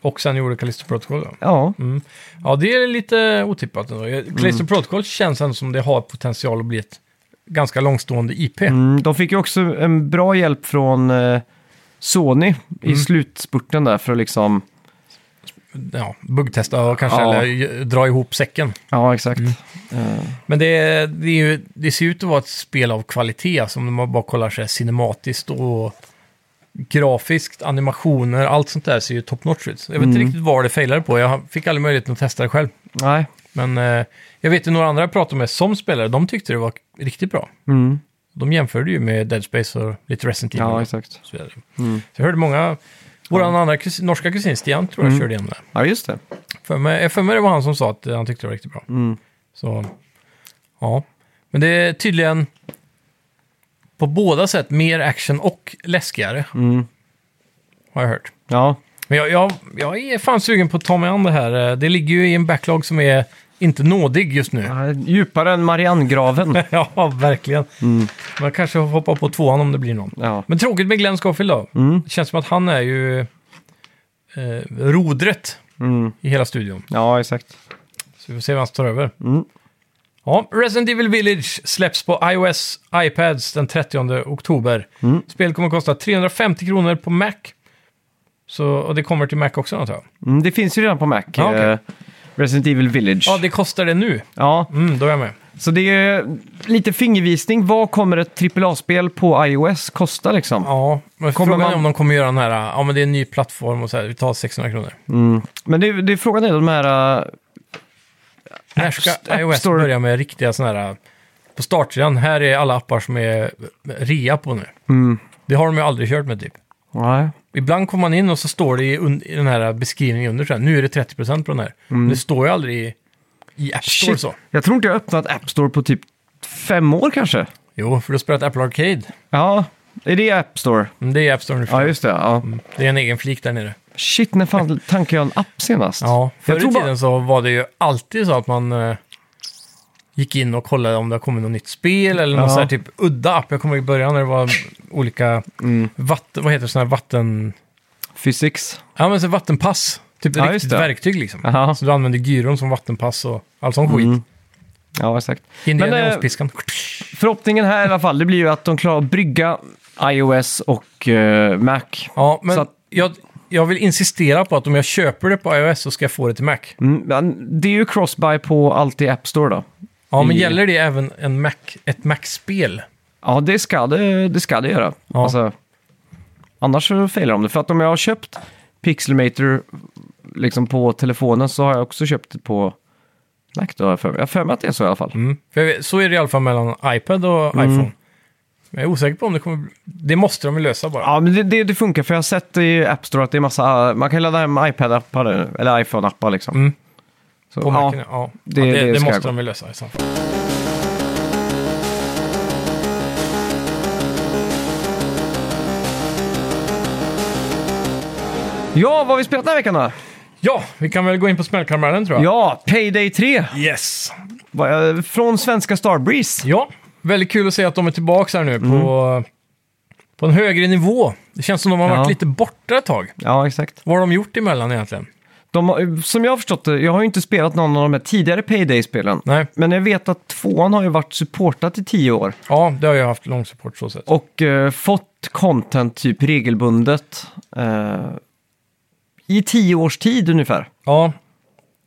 [SPEAKER 2] Och sen gjorde Callisto Protocol då.
[SPEAKER 1] Ja,
[SPEAKER 2] Mm. Ja, det är lite otippat ändå.
[SPEAKER 1] Mm.
[SPEAKER 2] Callisto Protocol känns ändå som det har potential att bli ett ganska långstående IP.
[SPEAKER 1] mm, de fick ju också en bra hjälp från eh, Sony i slutspurten där för att liksom...
[SPEAKER 2] Ja, buggtesta och kanske
[SPEAKER 1] Ja.
[SPEAKER 2] eller j- dra ihop säcken.
[SPEAKER 1] Ja, exakt. Eh,
[SPEAKER 2] Men det, det, är ju, det ser ut att vara ett spel av kvalitet, alltså om man bara kollar så här cinematiskt och grafiskt, animationer, allt sånt där ser ju top notch ut. Så Jag vet inte riktigt vad det failade på, jag fick aldrig möjligheten att testa det själv.
[SPEAKER 1] nej.
[SPEAKER 2] Men eh, jag vet ju några andra jag pratade med som spelare, de tyckte det var riktigt bra.
[SPEAKER 1] Mm.
[SPEAKER 2] De jämförde ju med Dead Space och lite Resident Evil.
[SPEAKER 1] Ja,
[SPEAKER 2] och
[SPEAKER 1] exakt.
[SPEAKER 2] så, vidare. så jag hörde många, vår andra kus, norska kusin Stian tror jag körde igenom det.
[SPEAKER 1] Ja, just det.
[SPEAKER 2] För mig, jag för mig det var han som sa att eh, han tyckte det var riktigt bra. Så, ja. Men det är tydligen på båda sätt mer action och läskigare. Har jag hört.
[SPEAKER 1] Ja,
[SPEAKER 2] Men jag, jag, jag är fan sugen på att ta mig an det här. Eh, Det ligger ju i en backlog som är inte nådig just nu.
[SPEAKER 1] Ja, djupare än Mariannegraven.
[SPEAKER 2] ja, verkligen. Man kanske hoppar på tvåan om det blir någon.
[SPEAKER 1] Ja.
[SPEAKER 2] Men tråkigt med Glenn Scofield då. Det känns som att han är ju eh, rodret
[SPEAKER 1] Mm.
[SPEAKER 2] i hela studion.
[SPEAKER 1] Ja, exakt.
[SPEAKER 2] Så vi får se vem som tar över.
[SPEAKER 1] Mm.
[SPEAKER 2] Ja, Resident Evil Village släpps på iOS, iPads den 30 oktober.
[SPEAKER 1] Mm.
[SPEAKER 2] Spel kommer att kosta 350 kronor på Mac. Så, och det kommer till Mac också antar jag.
[SPEAKER 1] Mm, det finns ju redan på Mac.
[SPEAKER 2] Ja, okej.
[SPEAKER 1] eh, Resident Evil Village.
[SPEAKER 2] Ja, det kostar det nu.
[SPEAKER 1] Ja,
[SPEAKER 2] Mm, då är jag med.
[SPEAKER 1] så det är ju lite fingervisning. Vad kommer ett AAA-spel på iOS kosta liksom?
[SPEAKER 2] Ja, men
[SPEAKER 1] Kommer
[SPEAKER 2] frågan
[SPEAKER 1] man-
[SPEAKER 2] är om de kommer göra den här, ja men det är en ny plattform och så här, vi tar 600 kronor.
[SPEAKER 1] Men det, det är frågan är de här... eh,
[SPEAKER 2] När ska
[SPEAKER 1] App
[SPEAKER 2] iOS
[SPEAKER 1] Store-
[SPEAKER 2] börja med riktiga sådana här, på startsidan, här är alla appar som är rea på nu.
[SPEAKER 1] Mm.
[SPEAKER 2] Det har de ju aldrig kört med typ.
[SPEAKER 1] Nej. Ibland...
[SPEAKER 2] Ibland kommer man in och så står det i, un- i den här beskrivningen under så här, nu är det 30% på den här. Men det står ju aldrig i, i App Store
[SPEAKER 1] Mm. Shit.
[SPEAKER 2] så.
[SPEAKER 1] Jag tror inte jag har öppnat App Store på typ fem år kanske.
[SPEAKER 2] Jo, för du har spelat Apple Arcade.
[SPEAKER 1] Ja, är det App Store?
[SPEAKER 2] Men det är App Store nu.
[SPEAKER 1] Ja, just det. Ja.
[SPEAKER 2] Det är en egen flik där nere.
[SPEAKER 1] Shit, när fan tankade jag en app senast?
[SPEAKER 2] Ja, förr
[SPEAKER 1] jag
[SPEAKER 2] i
[SPEAKER 1] tror
[SPEAKER 2] tiden
[SPEAKER 1] bara...
[SPEAKER 2] så var det ju alltid så att man eh, gick in och kollade om det har kommit något nytt spel eller någon
[SPEAKER 1] Ja.
[SPEAKER 2] så här typ
[SPEAKER 1] Mm.
[SPEAKER 2] udda app. Jag kommer ihåg i början när det var olika vatten, vad heter det, sådana här vatten...
[SPEAKER 1] Physics.
[SPEAKER 2] Ja, men så vattenpass. Typ
[SPEAKER 1] Ja,
[SPEAKER 2] ett
[SPEAKER 1] just
[SPEAKER 2] riktigt
[SPEAKER 1] det.
[SPEAKER 2] verktyg liksom.
[SPEAKER 1] Aha.
[SPEAKER 2] Så du använder gyron som vattenpass och all sån skit.
[SPEAKER 1] Ja, exakt.
[SPEAKER 2] Indien
[SPEAKER 1] Men,
[SPEAKER 2] i
[SPEAKER 1] eh,
[SPEAKER 2] åspiskan.
[SPEAKER 1] Förhoppningen här i alla fall, det blir ju att de klarar att brygga iOS och eh, Mac.
[SPEAKER 2] Ja, men
[SPEAKER 1] så att-
[SPEAKER 2] jag, jag vill insistera på att om jag köper det på iOS så ska jag få det till Mac.
[SPEAKER 1] Mm, men det är ju cross-buy på allt i App Store då.
[SPEAKER 2] Ja, men
[SPEAKER 1] I-
[SPEAKER 2] gäller det även en Mac, ett Mac-spel?
[SPEAKER 1] Ja, det ska det, det, ska det göra.
[SPEAKER 2] Ja.
[SPEAKER 1] Alltså, annars så failar de det. För att om jag har köpt Pixelmator liksom på telefonen så har jag också köpt det på Mac. Då, har jag för mig. Jag har för mig att det är så i alla fall.
[SPEAKER 2] Mm. För jag vet, så är det i alla fall mellan iPad och
[SPEAKER 1] Mm.
[SPEAKER 2] iPhone. Men jag är osäker på om det kommer... bli- Det måste de ju lösa bara.
[SPEAKER 1] Ja, men det, det, det funkar. För jag har sett i App Store att det är massa... Man kan ladda hem iPad-appar eller iPhone-appar liksom.
[SPEAKER 2] Mm.
[SPEAKER 1] Så,
[SPEAKER 2] På
[SPEAKER 1] ja.
[SPEAKER 2] Macen, ja.
[SPEAKER 1] det-
[SPEAKER 2] Det, ja,
[SPEAKER 1] det
[SPEAKER 2] det, det
[SPEAKER 1] ska
[SPEAKER 2] måste
[SPEAKER 1] jag gå.
[SPEAKER 2] de väl lösa i så fall.
[SPEAKER 1] ja, vad har vi spelat den här veckan då?
[SPEAKER 2] Ja, vi kan väl gå in på smällkammaren tror jag.
[SPEAKER 1] Ja, Payday 3.
[SPEAKER 2] Yes!
[SPEAKER 1] Vad jag- Från svenska Starbreeze.
[SPEAKER 2] Ja, väldigt kul att se att de är tillbaka här nu på, på en högre nivå. Det känns som de har
[SPEAKER 1] Mm. Ja.
[SPEAKER 2] varit lite borta ett tag.
[SPEAKER 1] Ja, exakt.
[SPEAKER 2] Vad har de gjort emellan egentligen?
[SPEAKER 1] De har, eh, som jag har förstått det, jag har ju inte spelat någon av de här tidigare Payday-spelen.
[SPEAKER 2] Nej,
[SPEAKER 1] Men jag vet att tvåan har ju varit supportat i tio år.
[SPEAKER 2] ja, det har jag haft lång support så sett.
[SPEAKER 1] Och eh, fått content typ regelbundet. Eh, I tio års tid ungefär.
[SPEAKER 2] Ja,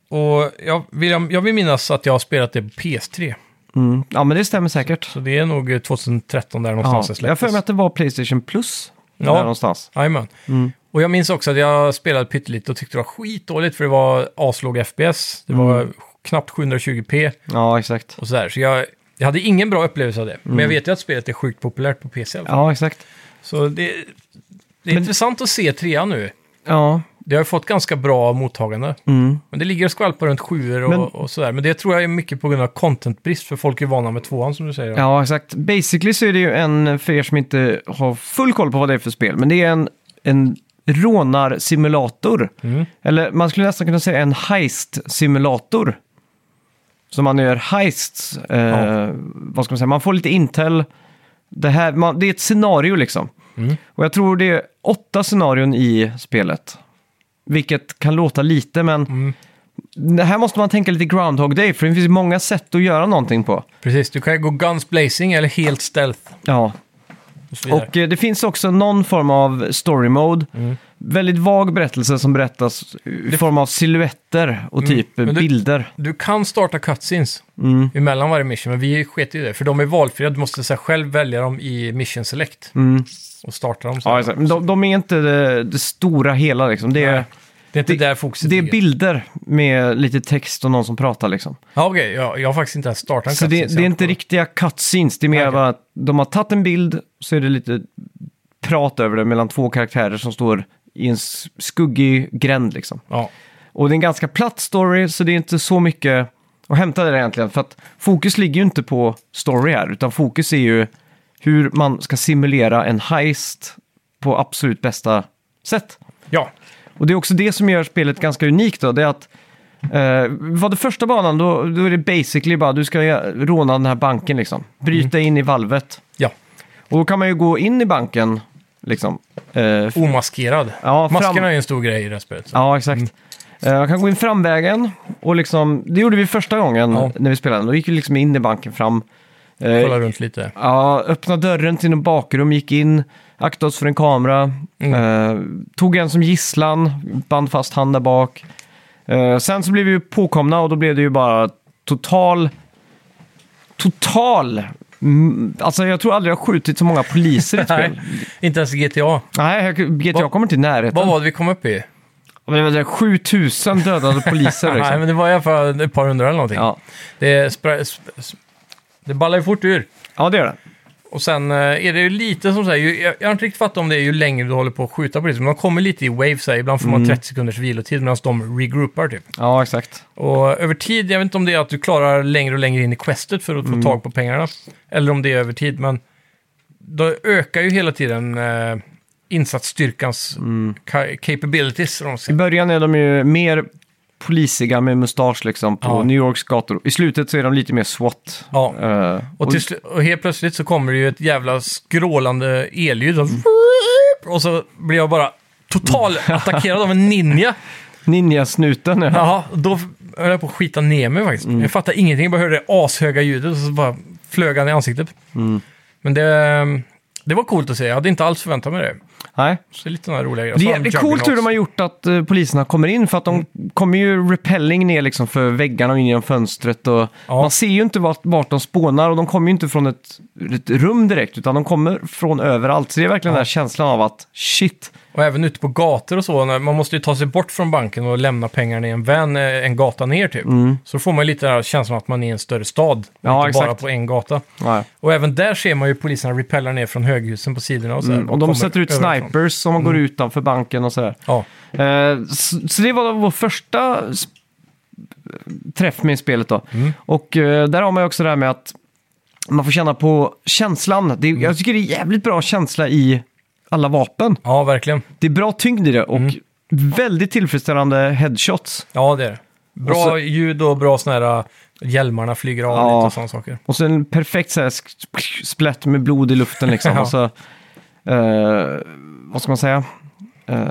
[SPEAKER 2] och jag vill, jag vill minnas att jag har spelat det på PS3.
[SPEAKER 1] Mm. Ja, men det stämmer säkert.
[SPEAKER 2] Så det är nog 2013 där
[SPEAKER 1] Ja,
[SPEAKER 2] någonstans det
[SPEAKER 1] jag har för mig
[SPEAKER 2] släpptes.
[SPEAKER 1] att det var Playstation Plus.
[SPEAKER 2] Ja.
[SPEAKER 1] Där någonstans.
[SPEAKER 2] Jajamän.
[SPEAKER 1] Mm.
[SPEAKER 2] Och jag minns också att jag spelade pyttelite och tyckte det var skitdåligt för det var aslåg FPS. Det var
[SPEAKER 1] Mm.
[SPEAKER 2] knappt 720p
[SPEAKER 1] Ja, exakt.
[SPEAKER 2] och sådär. Så jag, jag hade ingen bra upplevelse av det. Men jag vet ju att spelet är sjukt populärt på PC. i alla fall.
[SPEAKER 1] Mm. Ja, exakt.
[SPEAKER 2] Så det, det är intressant att se trean nu.
[SPEAKER 1] Ja,
[SPEAKER 2] Det har ju fått ganska bra mottagande.
[SPEAKER 1] mm.
[SPEAKER 2] Men det ligger och skvalpar runt sjuor och,
[SPEAKER 1] Men-
[SPEAKER 2] och sådär. Men det tror jag är mycket på grund av contentbrist, för folk är vana med tvåan som du säger.
[SPEAKER 1] ja, exakt. Basically så är det ju en, för er som inte har full koll på vad det är för spel, men det är en, en rånarsimulator.
[SPEAKER 2] Mm.
[SPEAKER 1] Eller man skulle nästan kunna säga en heist-simulator. Så man gör heists. Eh,
[SPEAKER 2] Ja.
[SPEAKER 1] Vad ska man säga? Man får lite intel. Det, här, man, det är ett scenario liksom.
[SPEAKER 2] Mm.
[SPEAKER 1] Och jag tror det är åtta scenarion i spelet. Vilket kan låta lite, men
[SPEAKER 2] Mm.
[SPEAKER 1] det här måste man tänka lite Groundhog Day, för det finns många sätt att göra någonting på.
[SPEAKER 2] Precis, du kan ju gå guns blazing eller helt stealth.
[SPEAKER 1] Ja,
[SPEAKER 2] Och, så vidare.
[SPEAKER 1] Och eh, det finns också någon form av story mode.
[SPEAKER 2] Mm.
[SPEAKER 1] Väldigt vag berättelse som berättas i form av silhuetter och typ eh,
[SPEAKER 2] Mm. Men det-
[SPEAKER 1] bilder.
[SPEAKER 2] Du kan starta cutscenes
[SPEAKER 1] Mm.
[SPEAKER 2] emellan varje mission, men vi sket i det. För de är valfria, du måste så här, själv välja dem i mission select. Och starta dem. Så.
[SPEAKER 1] Mm. Ja, exakt. Men de, de är inte det, det stora hela liksom. Det är,
[SPEAKER 2] Nej, det är inte
[SPEAKER 1] det-
[SPEAKER 2] där fokuset
[SPEAKER 1] det är
[SPEAKER 2] ligger.
[SPEAKER 1] bilder med lite text och någon som pratar liksom.
[SPEAKER 2] Ja, okej. jag, jag har faktiskt inte ens startat en
[SPEAKER 1] Så det,
[SPEAKER 2] cutscene.
[SPEAKER 1] det är inte riktiga cutscenes, det är mer
[SPEAKER 2] Okej.
[SPEAKER 1] bara att de har tagit en bild så är det lite prat över det mellan två karaktärer som står i en s- skuggig gränd liksom.
[SPEAKER 2] Ja,
[SPEAKER 1] Och det är en ganska platt story, så det är inte så mycket att hämta där egentligen. För att fokus ligger ju inte på story här, utan fokus är ju hur man ska simulera en heist på absolut bästa sätt.
[SPEAKER 2] ja.
[SPEAKER 1] Och det är också det som gör spelet ganska unikt då, det är att eh, vad det första banan, då, då är det basically bara du ska eh, råna den här banken liksom. Bryta
[SPEAKER 2] Mm.
[SPEAKER 1] in i valvet.
[SPEAKER 2] ja.
[SPEAKER 1] Och då kan man ju gå in i banken liksom. Eh,
[SPEAKER 2] omaskerad.
[SPEAKER 1] Ja, fram-
[SPEAKER 2] Maskerna är ju en stor grej i det här spelet. Så.
[SPEAKER 1] Ja, exakt.
[SPEAKER 2] Mm.
[SPEAKER 1] Eh, Jag kan gå in framvägen och liksom, det gjorde vi första gången
[SPEAKER 2] Ja.
[SPEAKER 1] när vi spelade. Då gick vi liksom in i banken fram. Eh,
[SPEAKER 2] Kolla runt lite.
[SPEAKER 1] ja, öppna dörren till något bakrum, gick in, aktade oss för en kamera,
[SPEAKER 2] Mm.
[SPEAKER 1] eh, tog en som gisslan, band fast han där bak. Eh, sen så blev vi ju påkomna och då blev det ju bara total, total, mm, alltså jag tror aldrig jag har skjutit så många poliser i ett spel.
[SPEAKER 2] Nej, inte ens GTA.
[SPEAKER 1] Nej, jag, GTA
[SPEAKER 2] Vad-
[SPEAKER 1] kommer till närheten.
[SPEAKER 2] Vad var det vi kom upp i?
[SPEAKER 1] Men det var där 7000 dödade poliser
[SPEAKER 2] Nej,
[SPEAKER 1] liksom.
[SPEAKER 2] men det var i alla fall ett par hundra eller någonting.
[SPEAKER 1] Ja.
[SPEAKER 2] Det, spra- sp- sp- det ballar ju fort ur.
[SPEAKER 1] ja, det gör det.
[SPEAKER 2] Och sen eh, är det ju lite som säger, jag, jag har inte riktigt fattat om det är ju längre du håller på att skjuta på det, men de kommer lite i waves här. Ibland får
[SPEAKER 1] Mm.
[SPEAKER 2] man 30 sekunders vilotid medan de regroupar typ.
[SPEAKER 1] Ja, exakt.
[SPEAKER 2] Och över tid, jag vet inte om det är att du klarar längre och längre in i questet för att
[SPEAKER 1] Mm.
[SPEAKER 2] få tag på pengarna. Eller om det är över tid, men då ökar ju hela tiden eh, insatsstyrkans
[SPEAKER 1] Mm.
[SPEAKER 2] ca- capabilities. om man
[SPEAKER 1] I
[SPEAKER 2] säger.
[SPEAKER 1] början är de ju mer polisiga med mustasch liksom på
[SPEAKER 2] Ja.
[SPEAKER 1] New Yorks gator. I slutet så är de lite mer SWAT.
[SPEAKER 2] Ja.
[SPEAKER 1] Eh,
[SPEAKER 2] Och, till, slu- och helt plötsligt så kommer det ju ett jävla skrålande elljud. Och, och så blir jag bara
[SPEAKER 1] Mm.
[SPEAKER 2] totalattackerad av en ninja.
[SPEAKER 1] Ninja-snuten. Ja. Mm.
[SPEAKER 2] Jaha, då höll jag på att skita ner mig faktiskt. Jag fattade ingenting, jag bara hörde det ashöga ljudet och så bara flög han i ansiktet.
[SPEAKER 1] Mm.
[SPEAKER 2] Men det, ehm, det var coolt att se, jag hade inte alls förväntat mig det.
[SPEAKER 1] Nej.
[SPEAKER 2] Så det är lite sådana roliga grejer.
[SPEAKER 1] Det är
[SPEAKER 2] Så har de Mm.
[SPEAKER 1] jävligt coolt hur de har gjort att eh, poliserna kommer in för att de kommer ju repelling ner liksom för väggarna och in genom fönstret. Och
[SPEAKER 2] Ja.
[SPEAKER 1] Man ser ju inte vart, vart de spånar och de kommer ju inte från ett, ett rum direkt utan de kommer från överallt. Så det är verkligen den här känslan av att shit,
[SPEAKER 2] Och även ute på gator och så, när man måste ju ta sig bort från banken och lämna pengarna i en van eh, en gata ner typ. Så får man ju lite den här känslan att man är i en större stad,
[SPEAKER 1] Mm. Ja,
[SPEAKER 2] inte bara
[SPEAKER 1] exakt.
[SPEAKER 2] på en gata.
[SPEAKER 1] ja.
[SPEAKER 2] Och även där ser man ju poliserna repella ner från höghusen på sidorna och så här,
[SPEAKER 1] Mm, och
[SPEAKER 2] kommer Mm.
[SPEAKER 1] de sätter ut
[SPEAKER 2] överifrån.
[SPEAKER 1] snipers som går utanför banken och sådär.
[SPEAKER 2] Ja,
[SPEAKER 1] Eh, så, så det var vår första s- träff med spelet då. Och eh, där har man ju också det här med att man får känna på känslan. Det, Jag tycker det är jävligt bra känsla i alla vapen.
[SPEAKER 2] ja verkligen.
[SPEAKER 1] Det är bra tyngd i det och väldigt tillfredsställande headshots.
[SPEAKER 2] Ja, det är det. Bra
[SPEAKER 1] Och så-
[SPEAKER 2] ljud och bra sådana här äh, hjälmarna flyger av
[SPEAKER 1] Ja.
[SPEAKER 2] lite och sådana saker.
[SPEAKER 1] Och så en perfekt så här sk- splätt med blod i luften liksom.
[SPEAKER 2] Ja.
[SPEAKER 1] och så, eh, vad ska man säga?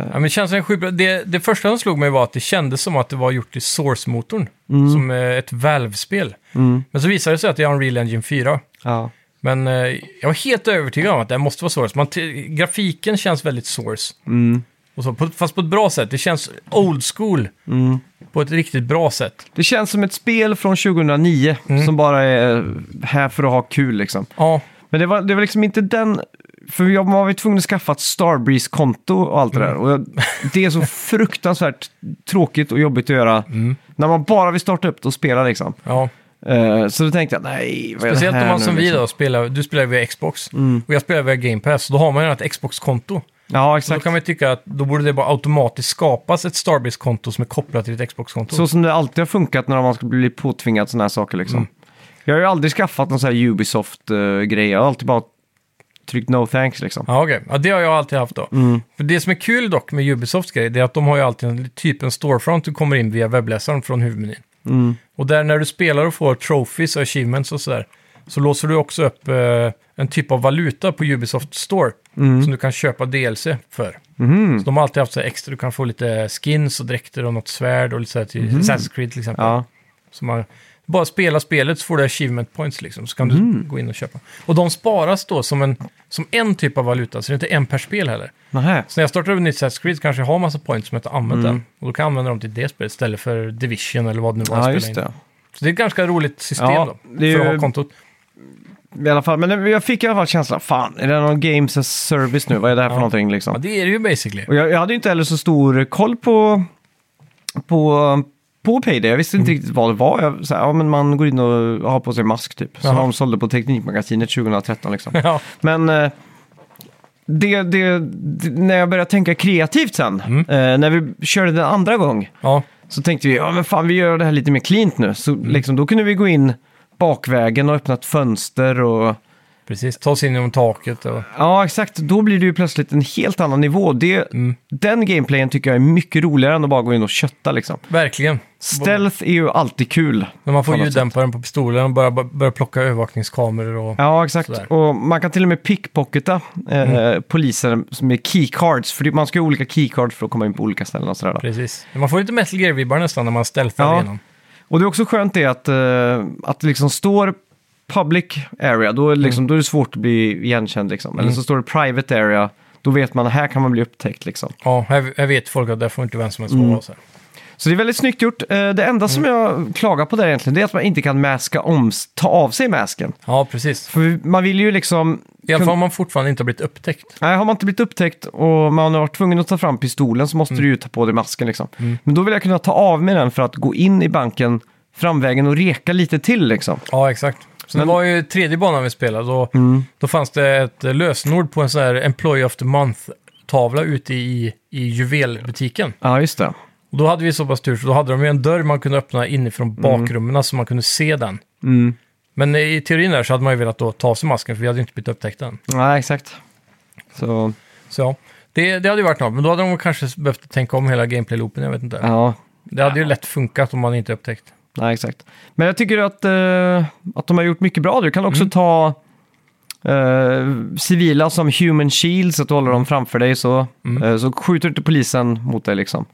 [SPEAKER 2] Ja, men det, känns som en skitbra- det, det första som slog mig var att det kändes som att det var gjort i Source-motorn.
[SPEAKER 1] Mm.
[SPEAKER 2] Som eh, ett Valve-spel. Men så visade det sig att det är Unreal Engine 4.
[SPEAKER 1] Ja.
[SPEAKER 2] Men eh, jag var helt övertygad om att det här måste vara Source. Man t- grafiken känns väldigt Source.
[SPEAKER 1] Mm.
[SPEAKER 2] Och så, på, fast på ett bra sätt. Det känns old school.
[SPEAKER 1] Mm.
[SPEAKER 2] På ett riktigt bra sätt.
[SPEAKER 1] Det känns som ett spel från 2009 som bara är här för att ha kul liksom.
[SPEAKER 2] Ja,
[SPEAKER 1] Men det var, det var liksom inte den... För jag var ju tvungen att skaffa ett Starbreeze-konto och allt det
[SPEAKER 2] Mm.
[SPEAKER 1] där. Och jag, det är så fruktansvärt tråkigt och jobbigt att göra
[SPEAKER 2] Mm.
[SPEAKER 1] när man bara vill starta upp det och spela liksom.
[SPEAKER 2] ja.
[SPEAKER 1] Eh, så då tänkte jag, nej, vad är
[SPEAKER 2] Speciellt
[SPEAKER 1] det här
[SPEAKER 2] om man
[SPEAKER 1] nu,
[SPEAKER 2] som vi
[SPEAKER 1] liksom? Mm.
[SPEAKER 2] då spelar, du spelar via Xbox och jag spelar via Game Pass. Så då har man ju ett Xbox-konto.
[SPEAKER 1] Ja,
[SPEAKER 2] Så då
[SPEAKER 1] exakt.
[SPEAKER 2] kan man ju tycka att då borde det bara automatiskt skapas ett Starbase-konto som är kopplat till ett Xbox-konto.
[SPEAKER 1] Så som det alltid har funkat när man ska bli påtvingad sådana här saker liksom.
[SPEAKER 2] Mm.
[SPEAKER 1] Jag har ju aldrig skaffat någon sån här Ubisoft-grej. jag har alltid bara tryckt no thanks liksom.
[SPEAKER 2] Ja, okej. Ja, det har jag alltid haft då.
[SPEAKER 1] Mm.
[SPEAKER 2] För det som är kul dock med Ubisofts grej, det är att de har ju alltid en typ en storefront du kommer in via webbläsaren från huvudmenyn.
[SPEAKER 1] Mm.
[SPEAKER 2] Och där när du spelar och får trophies och achievements och sådär, så låser du också upp eh, en typ av valuta på Ubisoft Store
[SPEAKER 1] Mm.
[SPEAKER 2] som du kan köpa DLC för.
[SPEAKER 1] Mhm.
[SPEAKER 2] Så de har alltid haft så här extra, du kan få lite skins och dräkter och något svärd och lite så här till Assassin's Creed till exempel.
[SPEAKER 1] Mhm. Ja.
[SPEAKER 2] Så man bara spela spelet så får du achievement points liksom, så kan
[SPEAKER 1] Mm.
[SPEAKER 2] du gå in och köpa. Och de sparas då som en, som en typ av valuta, så det är inte en per spel heller.
[SPEAKER 1] Nähä.
[SPEAKER 2] Så när jag startar upp ett nytt Assassin's Creed kanske jag har massa points som jag inte har använt
[SPEAKER 1] Mm.
[SPEAKER 2] än. Och då kan jag använda dem till det spelet istället för Division eller vad det nu var jag
[SPEAKER 1] Ja,
[SPEAKER 2] spelade
[SPEAKER 1] just
[SPEAKER 2] in.
[SPEAKER 1] det.
[SPEAKER 2] Så det är ett ganska roligt system
[SPEAKER 1] Ja,
[SPEAKER 2] då,
[SPEAKER 1] det är
[SPEAKER 2] för att
[SPEAKER 1] ju-
[SPEAKER 2] ha kontot.
[SPEAKER 1] I alla fall, men jag fick i alla fall känslan, fan, är det någon games as service nu? Vad är det här för någonting liksom?
[SPEAKER 2] Ja, det är det ju basically.
[SPEAKER 1] Och jag, jag hade ju inte heller så stor koll på, på, på Payday. Jag visste
[SPEAKER 2] Mm.
[SPEAKER 1] inte riktigt vad det var. Jag, så här, ja, men man går in och har på sig mask typ. Som
[SPEAKER 2] Jaha.
[SPEAKER 1] de sålde på Teknikmagasinet 2013 liksom.
[SPEAKER 2] Ja,
[SPEAKER 1] Men eh, det, det, det, när jag började tänka kreativt sen,
[SPEAKER 2] Mm.
[SPEAKER 1] eh, när vi körde den andra gång,
[SPEAKER 2] ja,
[SPEAKER 1] så tänkte vi, ja men fan vi gör det här lite mer cleant nu. Så
[SPEAKER 2] Mm.
[SPEAKER 1] liksom, då kunde vi gå in bakvägen och öppna ett fönster och...
[SPEAKER 2] precis. Ta sig in genom taket och...
[SPEAKER 1] Ja, exakt. Då blir det ju plötsligt en helt annan nivå. Det,
[SPEAKER 2] mm,
[SPEAKER 1] Den gameplayen tycker jag är mycket roligare än att bara gå in och kötta liksom.
[SPEAKER 2] Verkligen.
[SPEAKER 1] Stealth är ju alltid kul.
[SPEAKER 2] När man får
[SPEAKER 1] På något
[SPEAKER 2] ljuddämparen på pistolen och börjar, börjar plocka övervakningskameror och...
[SPEAKER 1] Ja, exakt.
[SPEAKER 2] Sådär.
[SPEAKER 1] Och man kan till och med pickpocketa eh, poliser med keycards. För det- man ska ju ha olika keycards för att komma in på olika ställen och sådär. Då.
[SPEAKER 2] Precis. Man får lite Metal Gear-vibbar nästan när man stealthar
[SPEAKER 1] Ja.
[SPEAKER 2] igenom.
[SPEAKER 1] Och det är också skönt det att, eh, att det liksom står public area, då är, det liksom, då är det svårt att bli igenkänd liksom. Eller så står det private area, då vet man här kan man bli upptäckt liksom.
[SPEAKER 2] Ja, här, här vet folk att där får inte vem som helst
[SPEAKER 1] Mm.
[SPEAKER 2] vara. Så här.
[SPEAKER 1] Så det är väldigt snyggt gjort. Eh, Det enda som jag klagar på där egentligen, det är att man inte kan maska om, ta av sig masken.
[SPEAKER 2] Ja, precis.
[SPEAKER 1] För man vill ju liksom...
[SPEAKER 2] I alla fall om man fortfarande inte har blivit upptäckt.
[SPEAKER 1] Nej, har man inte blivit upptäckt och man har varit tvungen att ta fram pistolen så måste du ju ta på dig masken liksom. Men då vill jag kunna ta av mig den för att gå in i banken framvägen och reka lite till liksom.
[SPEAKER 2] Ja, exakt. Så
[SPEAKER 1] Men- Mm.
[SPEAKER 2] det var ju tredje banan vi spelade och då fanns det ett eh, lösenord på en sån här Employee of the Month-tavla ute i, i juvelbutiken.
[SPEAKER 1] Ja, just det.
[SPEAKER 2] Och då hade vi så pass tur så då hade de ju en dörr man kunde öppna inifrån
[SPEAKER 1] Mm.
[SPEAKER 2] bakrummen så man kunde se den. Men i teorin där så hade man ju velat då ta av sig masken för vi hade ju inte blivit upptäckta än.
[SPEAKER 1] Nej, exakt. Så,
[SPEAKER 2] Så ja, det, det hade ju varit något. Men då hade de kanske behövt tänka om hela gameplay-loopen, jag vet inte.
[SPEAKER 1] ja.
[SPEAKER 2] Det hade ju lätt funkat om man inte upptäckt.
[SPEAKER 1] Nej, exakt. Men jag tycker att, eh, att de har gjort mycket bra. Du kan också ta eh, civila som human shields, att du håller dem framför dig så, eh, så skjuter inte polisen mot dig liksom.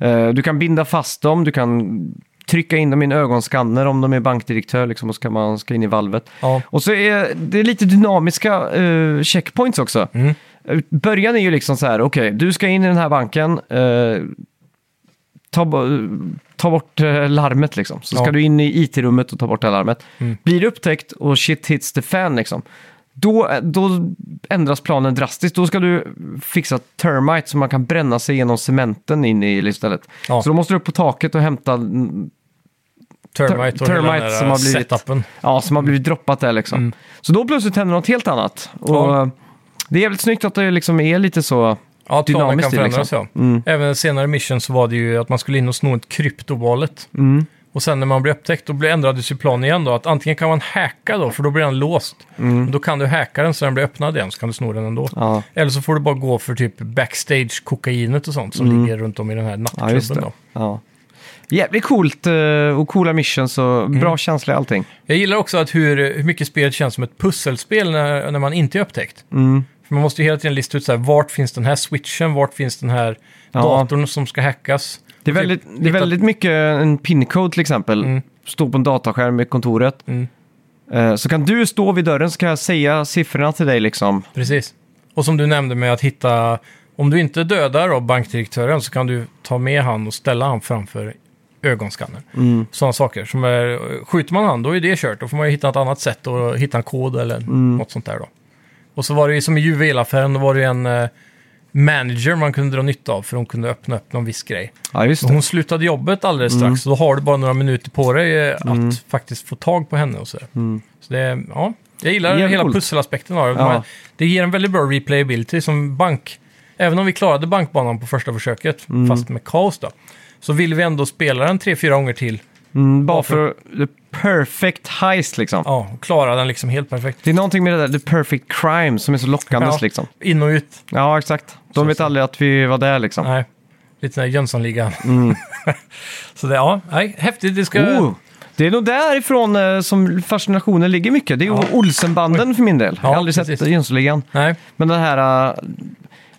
[SPEAKER 1] Eh, du kan binda fast dem, du kan trycka in dem i en ögonskanner om de är bankdirektör liksom, och ska man ska in i valvet.
[SPEAKER 2] Ja.
[SPEAKER 1] Och så är det lite dynamiska eh, checkpoints också.
[SPEAKER 2] Mm.
[SPEAKER 1] Början är ju liksom så här, okej, du ska in i den här banken, eh, ta, bo- ta bort eh, larmet liksom. Så ska
[SPEAKER 2] Ja.
[SPEAKER 1] du in i IT-rummet och ta bort det här larmet.
[SPEAKER 2] Mm.
[SPEAKER 1] Blir du upptäckt och shit hits the fan liksom, då, då ändras planen drastiskt. Då ska du fixa termite så man kan bränna sig genom cementen in i istället.
[SPEAKER 2] Ja.
[SPEAKER 1] Så då måste du upp på taket och hämta, mm,
[SPEAKER 2] Termite och
[SPEAKER 1] Termite
[SPEAKER 2] hela den där eh,
[SPEAKER 1] som har blivit-
[SPEAKER 2] setupen.
[SPEAKER 1] ja, som har blivit droppat där liksom.
[SPEAKER 2] Mm.
[SPEAKER 1] Så då plötsligt händer något helt annat. Och
[SPEAKER 2] Ja.
[SPEAKER 1] eh, Det är jävligt snyggt att det liksom är lite så,
[SPEAKER 2] Ja, planen
[SPEAKER 1] Dynamiskt
[SPEAKER 2] kan
[SPEAKER 1] i,
[SPEAKER 2] förändras ja.
[SPEAKER 1] Mm.
[SPEAKER 2] Även senare i mission så var det ju att man skulle in och sno ett kryptovalet.
[SPEAKER 1] mm.
[SPEAKER 2] Och sen när man blir upptäckt då blir- ändrades ju planen igen då. Att antingen kan man hacka då, för då blir den låst.
[SPEAKER 1] Mm.
[SPEAKER 2] Då kan du hacka den så den blir öppnad igen, så kan du sno den ändå.
[SPEAKER 1] ja.
[SPEAKER 2] Eller så får du bara gå för typ backstage-kokainet och sånt som ligger runt om i den här
[SPEAKER 1] Mm. Ja, just
[SPEAKER 2] nattklubben
[SPEAKER 1] det.
[SPEAKER 2] då.
[SPEAKER 1] Ja. Jävligt coolt eh, och coola missions och
[SPEAKER 2] Mm.
[SPEAKER 1] bra känsla i allting.
[SPEAKER 2] Jag gillar också att hur, hur mycket spelet känns som ett pusselspel när, när man inte är upptäckt.
[SPEAKER 1] Mm.
[SPEAKER 2] För man måste ju hela tiden lista ut så här, vart finns den här switchen, vart finns den här
[SPEAKER 1] Ja.
[SPEAKER 2] datorn som ska hackas.
[SPEAKER 1] Det är
[SPEAKER 2] Typ
[SPEAKER 1] väldigt, det är
[SPEAKER 2] hitta-
[SPEAKER 1] väldigt mycket en pincode till exempel.
[SPEAKER 2] Mm.
[SPEAKER 1] Stå på en dataskärm i kontoret.
[SPEAKER 2] Mm.
[SPEAKER 1] Eh, så kan du stå vid dörren så kan jag säga siffrorna till dig liksom.
[SPEAKER 2] Precis. Och som du nämnde med att hitta, om du inte dödar då bankdirektören så kan du ta med han och ställa han framför ögonskannern.
[SPEAKER 1] Mm.
[SPEAKER 2] Sådana saker. Som är, skjuter man han då är det kört. Då får man ju hitta ett annat sätt att hitta en kod eller något sånt där då. Och så var det ju som i juvelaffären, då var det ju en eh, manager man kunde dra nytta av för hon kunde öppna upp någon viss grej.
[SPEAKER 1] Ja, just
[SPEAKER 2] Så
[SPEAKER 1] det. Mm.
[SPEAKER 2] hon slutade jobbet alldeles strax, så då har du bara några minuter på dig eh, att faktiskt få tag på henne och så. Så det, ja, jag gillar
[SPEAKER 1] Jävligt
[SPEAKER 2] hela
[SPEAKER 1] Mm. coolt.
[SPEAKER 2] pusselaspekten av det.
[SPEAKER 1] Ja.
[SPEAKER 2] Man- Det ger en väldigt bra replayability som bank. Även om vi klarade bankbanan på första försöket,
[SPEAKER 1] Mm.
[SPEAKER 2] fast med kaos då, så vill vi ändå spela den tre, fyra gånger till.
[SPEAKER 1] Mm, bara för att- the perfect heist liksom.
[SPEAKER 2] Ja, och klara den liksom helt perfekt.
[SPEAKER 1] Det är någonting med det där the perfect crime som är så lockande
[SPEAKER 2] Ja.
[SPEAKER 1] liksom.
[SPEAKER 2] In och ut.
[SPEAKER 1] Ja, exakt. De
[SPEAKER 2] Så,
[SPEAKER 1] vet
[SPEAKER 2] så.
[SPEAKER 1] aldrig att vi var där liksom.
[SPEAKER 2] Nej, lite den här Jönssonligan. så det, ja, nej, häftigt. Det ska...
[SPEAKER 1] Mm. Oh, det är nog därifrån eh, som fascinationen ligger mycket. Det är
[SPEAKER 2] Ja.
[SPEAKER 1] Olsenbanden för min del. jag har
[SPEAKER 2] Ja,
[SPEAKER 1] aldrig sett
[SPEAKER 2] precis.
[SPEAKER 1] Jönssonligan.
[SPEAKER 2] Nej,
[SPEAKER 1] Men den här... eh,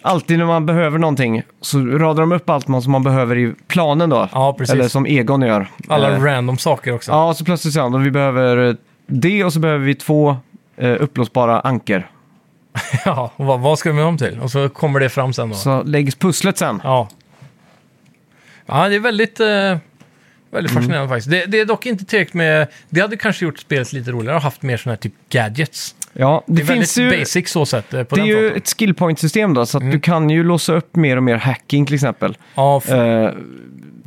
[SPEAKER 1] alltid när man behöver någonting så radar de upp allt man, som man behöver i planen då.
[SPEAKER 2] Ja, precis.
[SPEAKER 1] Eller som Egon gör.
[SPEAKER 2] alla
[SPEAKER 1] Eh,
[SPEAKER 2] random saker också.
[SPEAKER 1] Ja, så plötsligt säger han "Och vi behöver eh, det och så behöver vi två eh, upplåsbara anker.
[SPEAKER 2] Ja, och vad, vad ska vi med dem till? Och så kommer det fram sen då.
[SPEAKER 1] Så läggs pusslet sen.
[SPEAKER 2] Ja. Ja, det är väldigt, eh, väldigt
[SPEAKER 1] Mm.
[SPEAKER 2] fascinerande faktiskt. Det, det är dock inte tillräckligt med... Det hade kanske gjort spelet lite roligare att ha haft mer sådana här typ gadgets.
[SPEAKER 1] Ja, det,
[SPEAKER 2] Det, är
[SPEAKER 1] finns
[SPEAKER 2] väldigt
[SPEAKER 1] ju...
[SPEAKER 2] basic så sätt eh, på
[SPEAKER 1] Det är
[SPEAKER 2] den Mm.
[SPEAKER 1] ju
[SPEAKER 2] fronten.
[SPEAKER 1] ett skillpoint-system då, så att du kan ju låsa upp mer och mer hacking till exempel.
[SPEAKER 2] Ja, f-
[SPEAKER 1] Eh, till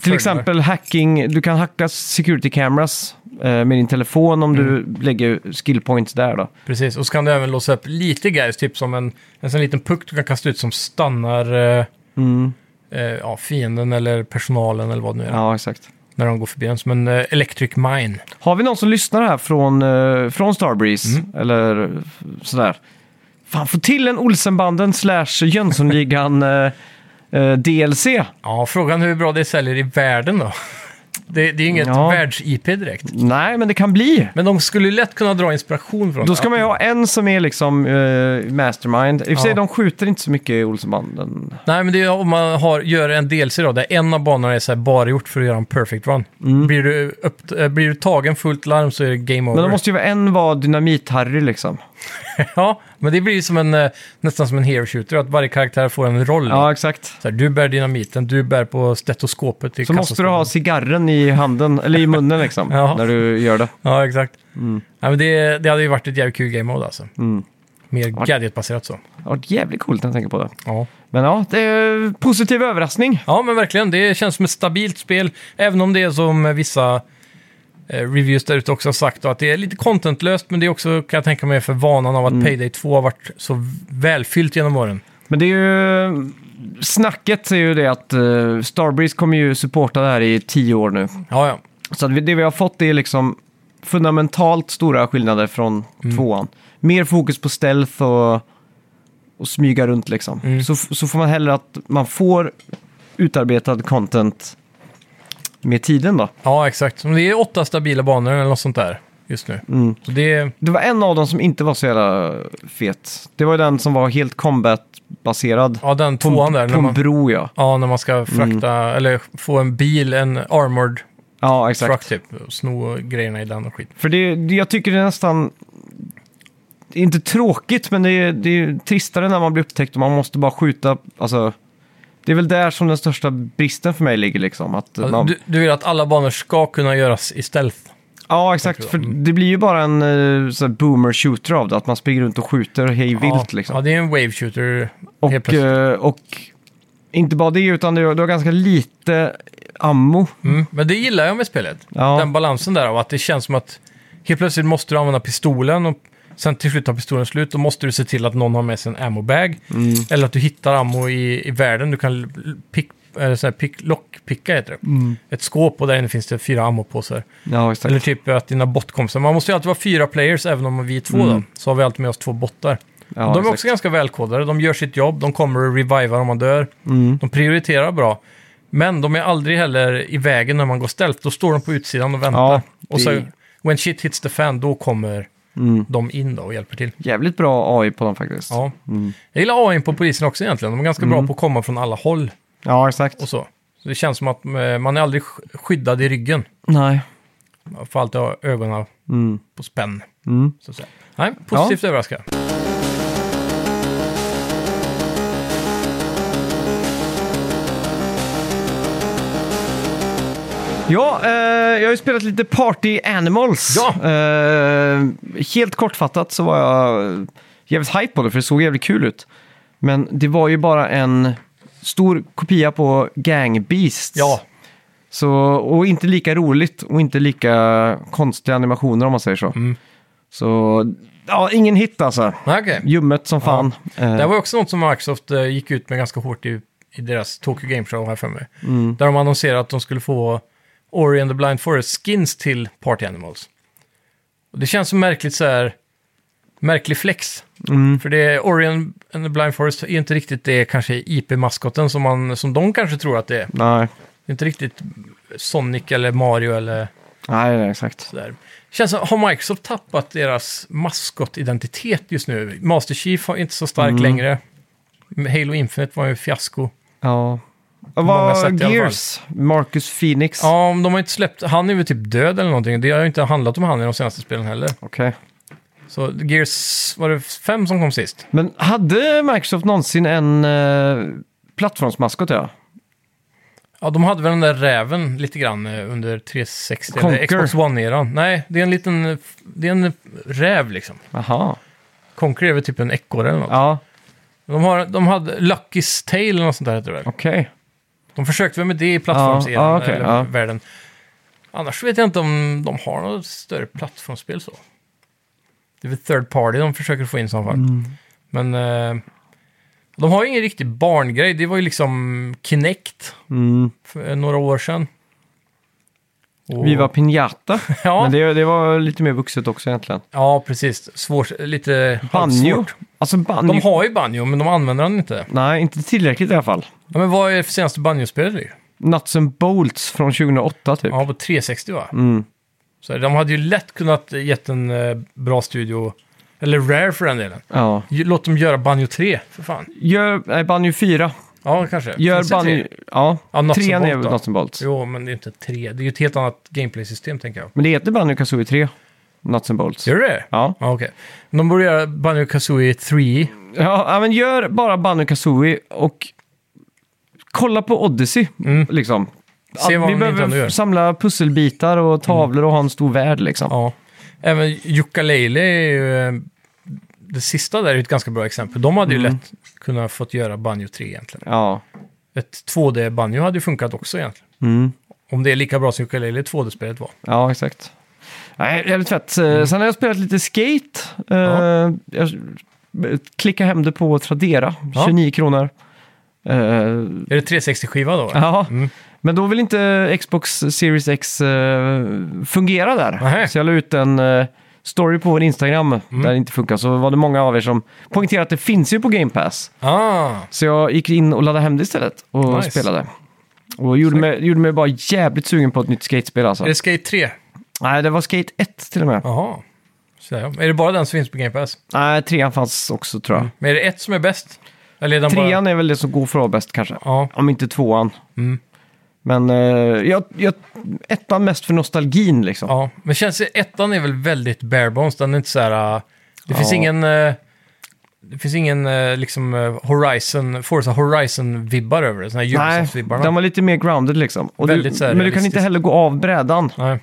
[SPEAKER 2] Fördelar.
[SPEAKER 1] exempel hacking, du kan hacka security cameras eh, med din telefon om du lägger skill points där då.
[SPEAKER 2] precis. Och så kan du även låsa upp lite gadgets, typ som en, en sån liten puck du kan kasta ut som stannar eh,
[SPEAKER 1] Mm.
[SPEAKER 2] eh, ja, fienden eller personalen eller vad det nu är.
[SPEAKER 1] Ja, exakt.
[SPEAKER 2] När de går förbi en, som en eh, electric mine.
[SPEAKER 1] Har vi någon som lyssnar här från, eh, från Starbreeze? Eller eh, sådär. Fan, få till en Olsenbanden slash Jönssonligan eh, eh, DLC.
[SPEAKER 2] Ja, frågan är hur bra det säljer i världen då. Det, det är ju inget
[SPEAKER 1] Ja.
[SPEAKER 2] världs-IP direkt.
[SPEAKER 1] Nej, men det kan bli.
[SPEAKER 2] Men de skulle ju lätt kunna dra inspiration från
[SPEAKER 1] Då
[SPEAKER 2] det.
[SPEAKER 1] ska man ju ha en som är liksom eh, mastermind. I och för sig,
[SPEAKER 2] Ja.
[SPEAKER 1] de skjuter inte så mycket i Olsenbanden.
[SPEAKER 2] Nej, men det är om man har, gör en DLC då, där en av banorna är så här bara gjort för att göra en perfect run. Blir, du upp, eh, blir du tagen fullt larm så är det game over.
[SPEAKER 1] Mm. Men då måste ju vara en vara Dynamit-Harry liksom.
[SPEAKER 2] Ja, men det blir ju som en, eh, nästan som en hero shooter, att varje karaktär får en roll.
[SPEAKER 1] Ja, exakt.
[SPEAKER 2] Så här, du bär dynamiten, du bär på stetoskopet. i
[SPEAKER 1] Så måste du
[SPEAKER 2] kassaskåpet.
[SPEAKER 1] ha cigarren i handen, eller i munnen liksom,
[SPEAKER 2] Ja.
[SPEAKER 1] när du gör det.
[SPEAKER 2] Ja, exakt.
[SPEAKER 1] Mm.
[SPEAKER 2] Ja, men det, det hade ju varit ett jävligt kul game mode alltså. Mer gadgetbaserat så.
[SPEAKER 1] Det har varit jävligt coolt när jag tänker på det.
[SPEAKER 2] Ja.
[SPEAKER 1] Men ja, det är positiv överraskning.
[SPEAKER 2] Ja, men verkligen. Det känns som ett stabilt spel. Även om det är som vissa eh, reviews där ute också har sagt, då, att det är lite contentlöst, men det är också, kan jag tänka mig, för vanan
[SPEAKER 1] Mm.
[SPEAKER 2] av att Payday 2 har varit så v- välfyllt genom åren.
[SPEAKER 1] Men det är ju... Snacket är ju det att eh, Starbreeze kommer ju supporta det här i tio år nu.
[SPEAKER 2] Ja, ja.
[SPEAKER 1] Så att vi, det vi har fått är liksom fundamentalt stora skillnader från
[SPEAKER 2] Mm.
[SPEAKER 1] tvåan. Mer fokus på stealth och, och smyga runt liksom.
[SPEAKER 2] Mm.
[SPEAKER 1] Så, f- så får man hellre att man får utarbetad content med tiden då.
[SPEAKER 2] Ja, exakt. Men det är åtta stabila banor eller något sånt där. just nu.
[SPEAKER 1] Mm.
[SPEAKER 2] Så det,
[SPEAKER 1] Det var en av dem som inte var så jävla fet. Det var ju den som var helt combat-baserad.
[SPEAKER 2] ja, den
[SPEAKER 1] På,
[SPEAKER 2] tvåan där.
[SPEAKER 1] på
[SPEAKER 2] När
[SPEAKER 1] en
[SPEAKER 2] man,
[SPEAKER 1] bro ja.
[SPEAKER 2] ja, när man
[SPEAKER 1] Mm.
[SPEAKER 2] ska frakta, eller få en bil, en armored
[SPEAKER 1] Ja, exakt.
[SPEAKER 2] truck typ. Och sno grejerna i den och skit.
[SPEAKER 1] För det, det, jag tycker det är nästan... Det är inte tråkigt, men det är, det är tristare när man blir upptäckt och man måste bara skjuta. Alltså, det är väl där som den största bristen för mig ligger liksom. Att
[SPEAKER 2] Alltså,
[SPEAKER 1] man,
[SPEAKER 2] du, du vill att alla banor ska kunna göras i stealth.
[SPEAKER 1] ja, exakt.
[SPEAKER 2] jag
[SPEAKER 1] För
[SPEAKER 2] tror Mm. jag.
[SPEAKER 1] det blir ju bara en eh, så här boomer shooter av det. Att man springer runt och skjuter hej vilt
[SPEAKER 2] ja,
[SPEAKER 1] liksom.
[SPEAKER 2] ja, det är en wave shooter. helt
[SPEAKER 1] och,
[SPEAKER 2] plötsligt.
[SPEAKER 1] eh, och inte bara det, utan du, du har ganska lite ammo.
[SPEAKER 2] Mm. Men det gillar jag med spelet.
[SPEAKER 1] Ja.
[SPEAKER 2] Den balansen där av att det känns som att helt plötsligt måste du använda pistolen och sen till slut tar pistolen slut. Då måste du se till att någon har med sig en ammo-bag. Eller att du hittar ammo i, i världen. Du kan l- pick, eller sån här pick, lockpicka heter det. Ett skåp och där inne finns det fyra ammopåsar.
[SPEAKER 1] Ja, exakt.
[SPEAKER 2] Eller typ att dina botkompisar. Man måste ju alltid vara fyra players även om vi är två då. Så har vi alltid med oss två bottar.
[SPEAKER 1] ja,
[SPEAKER 2] de är
[SPEAKER 1] exakt.
[SPEAKER 2] också ganska välkodade. De gör sitt jobb, de kommer och revivar om man dör.
[SPEAKER 1] Mm.
[SPEAKER 2] De prioriterar bra. Men de är aldrig heller i vägen när man går stealth. Då står de på utsidan och väntar.
[SPEAKER 1] Ja,
[SPEAKER 2] Och så
[SPEAKER 1] det-
[SPEAKER 2] when shit hits the fan, då kommer
[SPEAKER 1] Mm.
[SPEAKER 2] de in då och hjälper till.
[SPEAKER 1] Jävligt bra AI på dem faktiskt.
[SPEAKER 2] Ja.
[SPEAKER 1] Mm.
[SPEAKER 2] Jag gillar AI på polisen också egentligen. De är ganska bra på att komma från alla håll
[SPEAKER 1] ja exakt.
[SPEAKER 2] och så. så. Det känns som att eh, man är aldrig sk- skyddad i ryggen.
[SPEAKER 1] Nej.
[SPEAKER 2] Man får alltid ha ögonen
[SPEAKER 1] Mm.
[SPEAKER 2] på spänn.
[SPEAKER 1] Mm.
[SPEAKER 2] Så att säga. Nej, positivt överraskad.
[SPEAKER 1] Ja, eh, jag har ju spelat lite Party Animals.
[SPEAKER 2] Ja.
[SPEAKER 1] Eh, helt kortfattat så var jag eh, jävligt hype på det för det såg jävligt kul ut. Men det var ju bara en stor kopia på Gang Beasts.
[SPEAKER 2] Ja,
[SPEAKER 1] Så, och inte lika roligt och inte lika konstiga animationer om man säger så.
[SPEAKER 2] Mm.
[SPEAKER 1] Så, ja, ingen hit alltså.
[SPEAKER 2] nej, okej.
[SPEAKER 1] Ljummet som fan. Eh,
[SPEAKER 2] Det här var ju också något som Microsoft eh, gick ut med ganska hårt i, i deras Tokyo Game Show här för mig. Där de annonserade att de skulle få Ori and the Blind Forest skins till Party Animals. Och det känns som märkligt så här, märklig flex.
[SPEAKER 1] mm.
[SPEAKER 2] För det, Ori and and the Blind Forest är inte riktigt det kanske IP-maskoten som, man, som de kanske tror att det är.
[SPEAKER 1] Nej.
[SPEAKER 2] Det är inte riktigt Sonic eller Mario eller
[SPEAKER 1] Nej, nej, exakt.
[SPEAKER 2] sådär. Känns som, har Microsoft tappat deras maskotidentitet just nu? Master Chief har inte så stark längre. Halo Infinite var ju ett fiasko.
[SPEAKER 1] Ja.
[SPEAKER 2] många sätt i alla
[SPEAKER 1] Vad
[SPEAKER 2] fall.
[SPEAKER 1] Gears? Marcus Phoenix?
[SPEAKER 2] Ja, om de har inte släppt... Han är väl typ död eller någonting. Det har ju inte handlat om han i de senaste spelen heller.
[SPEAKER 1] Okej.
[SPEAKER 2] Så Gears... Var det fem som kom sist?
[SPEAKER 1] Men hade Microsoft någonsin en eh, plattformsmaskot? Ja?
[SPEAKER 2] Ja, de hade väl den där räven lite grann eh, under 360 eller
[SPEAKER 1] Conker.
[SPEAKER 2] Xbox One-eran. Nej, det är en liten... eh, f- Det är en eh, räv liksom.
[SPEAKER 1] Aha.
[SPEAKER 2] Conker är väl typ en ekorre eller något.
[SPEAKER 1] Ja,
[SPEAKER 2] De, har, de hade Lucky's Tale eller något sånt där heter det väl?
[SPEAKER 1] okej.
[SPEAKER 2] De försökte väl med det i plattformseran,
[SPEAKER 1] Ja, ja, okej,
[SPEAKER 2] eller
[SPEAKER 1] ja.
[SPEAKER 2] världen. Annars vet jag inte om de har något större plattformsspel så. Det är väl third party de försöker få in i så fall.
[SPEAKER 1] Mm.
[SPEAKER 2] Men eh, de har ju ingen riktig barngrej. Det var ju liksom Kinect
[SPEAKER 1] Mm.
[SPEAKER 2] för några år sedan. Och-
[SPEAKER 1] Viva Pinata.
[SPEAKER 2] ja,
[SPEAKER 1] Men det, det var lite mer vuxet också egentligen.
[SPEAKER 2] ja, precis. Svårt, lite
[SPEAKER 1] Banjo.
[SPEAKER 2] halvsvårt.
[SPEAKER 1] Alltså banjo.
[SPEAKER 2] De har ju banjo, men de använder den inte.
[SPEAKER 1] Nej, inte tillräckligt i alla fall.
[SPEAKER 2] Ja, men vad är det för senaste banjospelet?
[SPEAKER 1] Typ.
[SPEAKER 2] det är?
[SPEAKER 1] Nuts and Bolts från 2008 typ.
[SPEAKER 2] Ja, på 360 va?
[SPEAKER 1] Mm.
[SPEAKER 2] Så de hade ju lätt kunnat gett en eh, bra studio, eller Rare för den delen.
[SPEAKER 1] Ja.
[SPEAKER 2] Ju- Låt dem göra Banjo 3, för fan.
[SPEAKER 1] Gör, nej, banjo 4.
[SPEAKER 2] Ja, kanske. Finns
[SPEAKER 1] Gör
[SPEAKER 2] det
[SPEAKER 1] banjo...
[SPEAKER 2] tre?
[SPEAKER 1] Ja,
[SPEAKER 2] Ja, Nuts and
[SPEAKER 1] trean är
[SPEAKER 2] Bolts då.
[SPEAKER 1] Nuts and Bolts.
[SPEAKER 2] Jo, men det är inte 3. Det är ju ett helt annat gameplay-system, tänker jag.
[SPEAKER 1] Men det heter banjo Kazooie 3. Nuts and Bolts.
[SPEAKER 2] Gör det?
[SPEAKER 1] Ja.
[SPEAKER 2] Ja, okej. De borde göra Banjo Kazooie 3.
[SPEAKER 1] Ja, ja, men gör bara Banjo Kazooie och kolla på Odyssey. Liksom.
[SPEAKER 2] Mm. Se
[SPEAKER 1] Att
[SPEAKER 2] vad
[SPEAKER 1] vi
[SPEAKER 2] Nintendo gör. Mm.
[SPEAKER 1] behöver samla pusselbitar och tavlor och ha en stor värld liksom.
[SPEAKER 2] Ja. Även Yooka-Laylee är ju... eh, Det sista där är ju ett ganska bra exempel. De hade ju
[SPEAKER 1] Mm.
[SPEAKER 2] lätt kunnat fått göra Banjo 3 egentligen.
[SPEAKER 1] Ja.
[SPEAKER 2] Ett 2D-banjo hade ju funkat också egentligen.
[SPEAKER 1] Mm.
[SPEAKER 2] Om det är lika bra som Yooka-Laylee 2D-spelet var.
[SPEAKER 1] ja, exakt. Nej, jävligt fett. Eh, Sen har jag spelat lite skate. Eh,
[SPEAKER 2] Mm. Ja.
[SPEAKER 1] Jag klickade hem det på Tradera,
[SPEAKER 2] Ja.
[SPEAKER 1] 29 kronor. Eh,
[SPEAKER 2] Är det 360-skiva då?
[SPEAKER 1] Ja,
[SPEAKER 2] Mm.
[SPEAKER 1] men då vill inte Xbox Series X eh, fungera där.
[SPEAKER 2] Nej.
[SPEAKER 1] Så jag la ut en eh, story på vår Instagram
[SPEAKER 2] Mm.
[SPEAKER 1] där det inte funkar. Så var det många av er som poängterade att det finns ju på Game Pass.
[SPEAKER 2] Ah,
[SPEAKER 1] Så jag gick in och laddade hem det istället och
[SPEAKER 2] Nice.
[SPEAKER 1] spelade. Och gjorde mig, gjorde mig bara jävligt sugen på ett nytt skatespel alltså.
[SPEAKER 2] är det Skate 3?
[SPEAKER 1] Nej, det var Skate 1 till och med.
[SPEAKER 2] Jaha. Så där, ja. Är det bara den som finns på Game Pass?
[SPEAKER 1] Nej, trean fanns också tror jag.
[SPEAKER 2] Men är det ett som är bäst? Eller är den Mm. bara...
[SPEAKER 1] Trean är väl det som går för att vara bäst kanske.
[SPEAKER 2] Ja.
[SPEAKER 1] Om inte tvåan.
[SPEAKER 2] Mm.
[SPEAKER 1] Men eh, jag, jag, ettan mest för nostalgin liksom.
[SPEAKER 2] ja. Men känns det, ettan är väl väldigt bare bones. Den är inte så här... äh, det finns
[SPEAKER 1] Ja.
[SPEAKER 2] ingen... äh, det finns ingen äh, liksom äh, Horizon, Forza Horizon-vibbar över det. Såna här
[SPEAKER 1] Nej,
[SPEAKER 2] Ubisoft-vibbarna.
[SPEAKER 1] den var lite mer grounded liksom. Och du,
[SPEAKER 2] Väldigt så här
[SPEAKER 1] men du kan
[SPEAKER 2] realistisk.
[SPEAKER 1] inte heller gå av brädan.
[SPEAKER 2] Nej.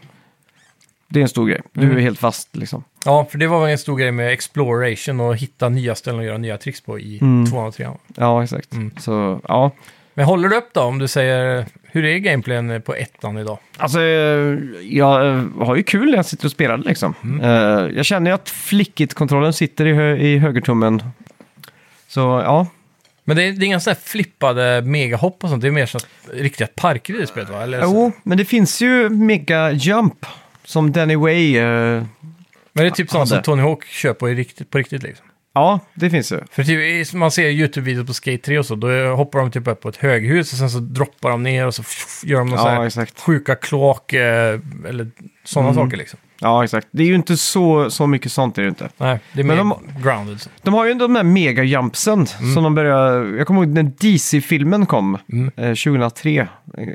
[SPEAKER 1] Det är en stor grej. Du
[SPEAKER 2] Mm.
[SPEAKER 1] är helt fast liksom.
[SPEAKER 2] Ja, för det var väl en stor grej med exploration och hitta nya ställen och göra nya tricks på i
[SPEAKER 1] Mm.
[SPEAKER 2] tvåan och trean.
[SPEAKER 1] Ja, exakt.
[SPEAKER 2] Mm.
[SPEAKER 1] Så, ja.
[SPEAKER 2] Men håller du upp då om du säger hur är gameplayen på ettan idag?
[SPEAKER 1] Alltså, eh, jag eh, har ju kul när jag sitter och spelar det, liksom.
[SPEAKER 2] Mm.
[SPEAKER 1] Eh, Jag känner ju att flickit-kontrollen sitter i, hö- i högertummen. Så ja,
[SPEAKER 2] Men det är, det är inga sådana här flippade megahopp och sånt, det är mer så att riktiga parker i det spelet va? Eller så.
[SPEAKER 1] jo, men det finns ju Mega Jump som Danny Way. eh,
[SPEAKER 2] Men det är typ sånt som
[SPEAKER 1] hade.
[SPEAKER 2] Tony Hawk kör på, i riktigt, på riktigt liksom.
[SPEAKER 1] Ja, det finns ju.
[SPEAKER 2] För typ, i- som man ser YouTube-videos på Skate 3 och så, då hoppar de typ upp på ett höghus och sen så droppar de ner och så fff, gör de någon
[SPEAKER 1] Ja,
[SPEAKER 2] sån här
[SPEAKER 1] exakt.
[SPEAKER 2] sjuka kloak eh, eller sådana
[SPEAKER 1] Mm.
[SPEAKER 2] saker liksom.
[SPEAKER 1] Ja, exakt. Det är ju inte så, så mycket sånt. Är det ju inte.
[SPEAKER 2] Nej, det är mer
[SPEAKER 1] Men
[SPEAKER 2] grounded. så.
[SPEAKER 1] De har ju de där megajumpsen
[SPEAKER 2] Mm.
[SPEAKER 1] som de börjar... Jag kommer ihåg när DC-filmen kom, eh, 2003,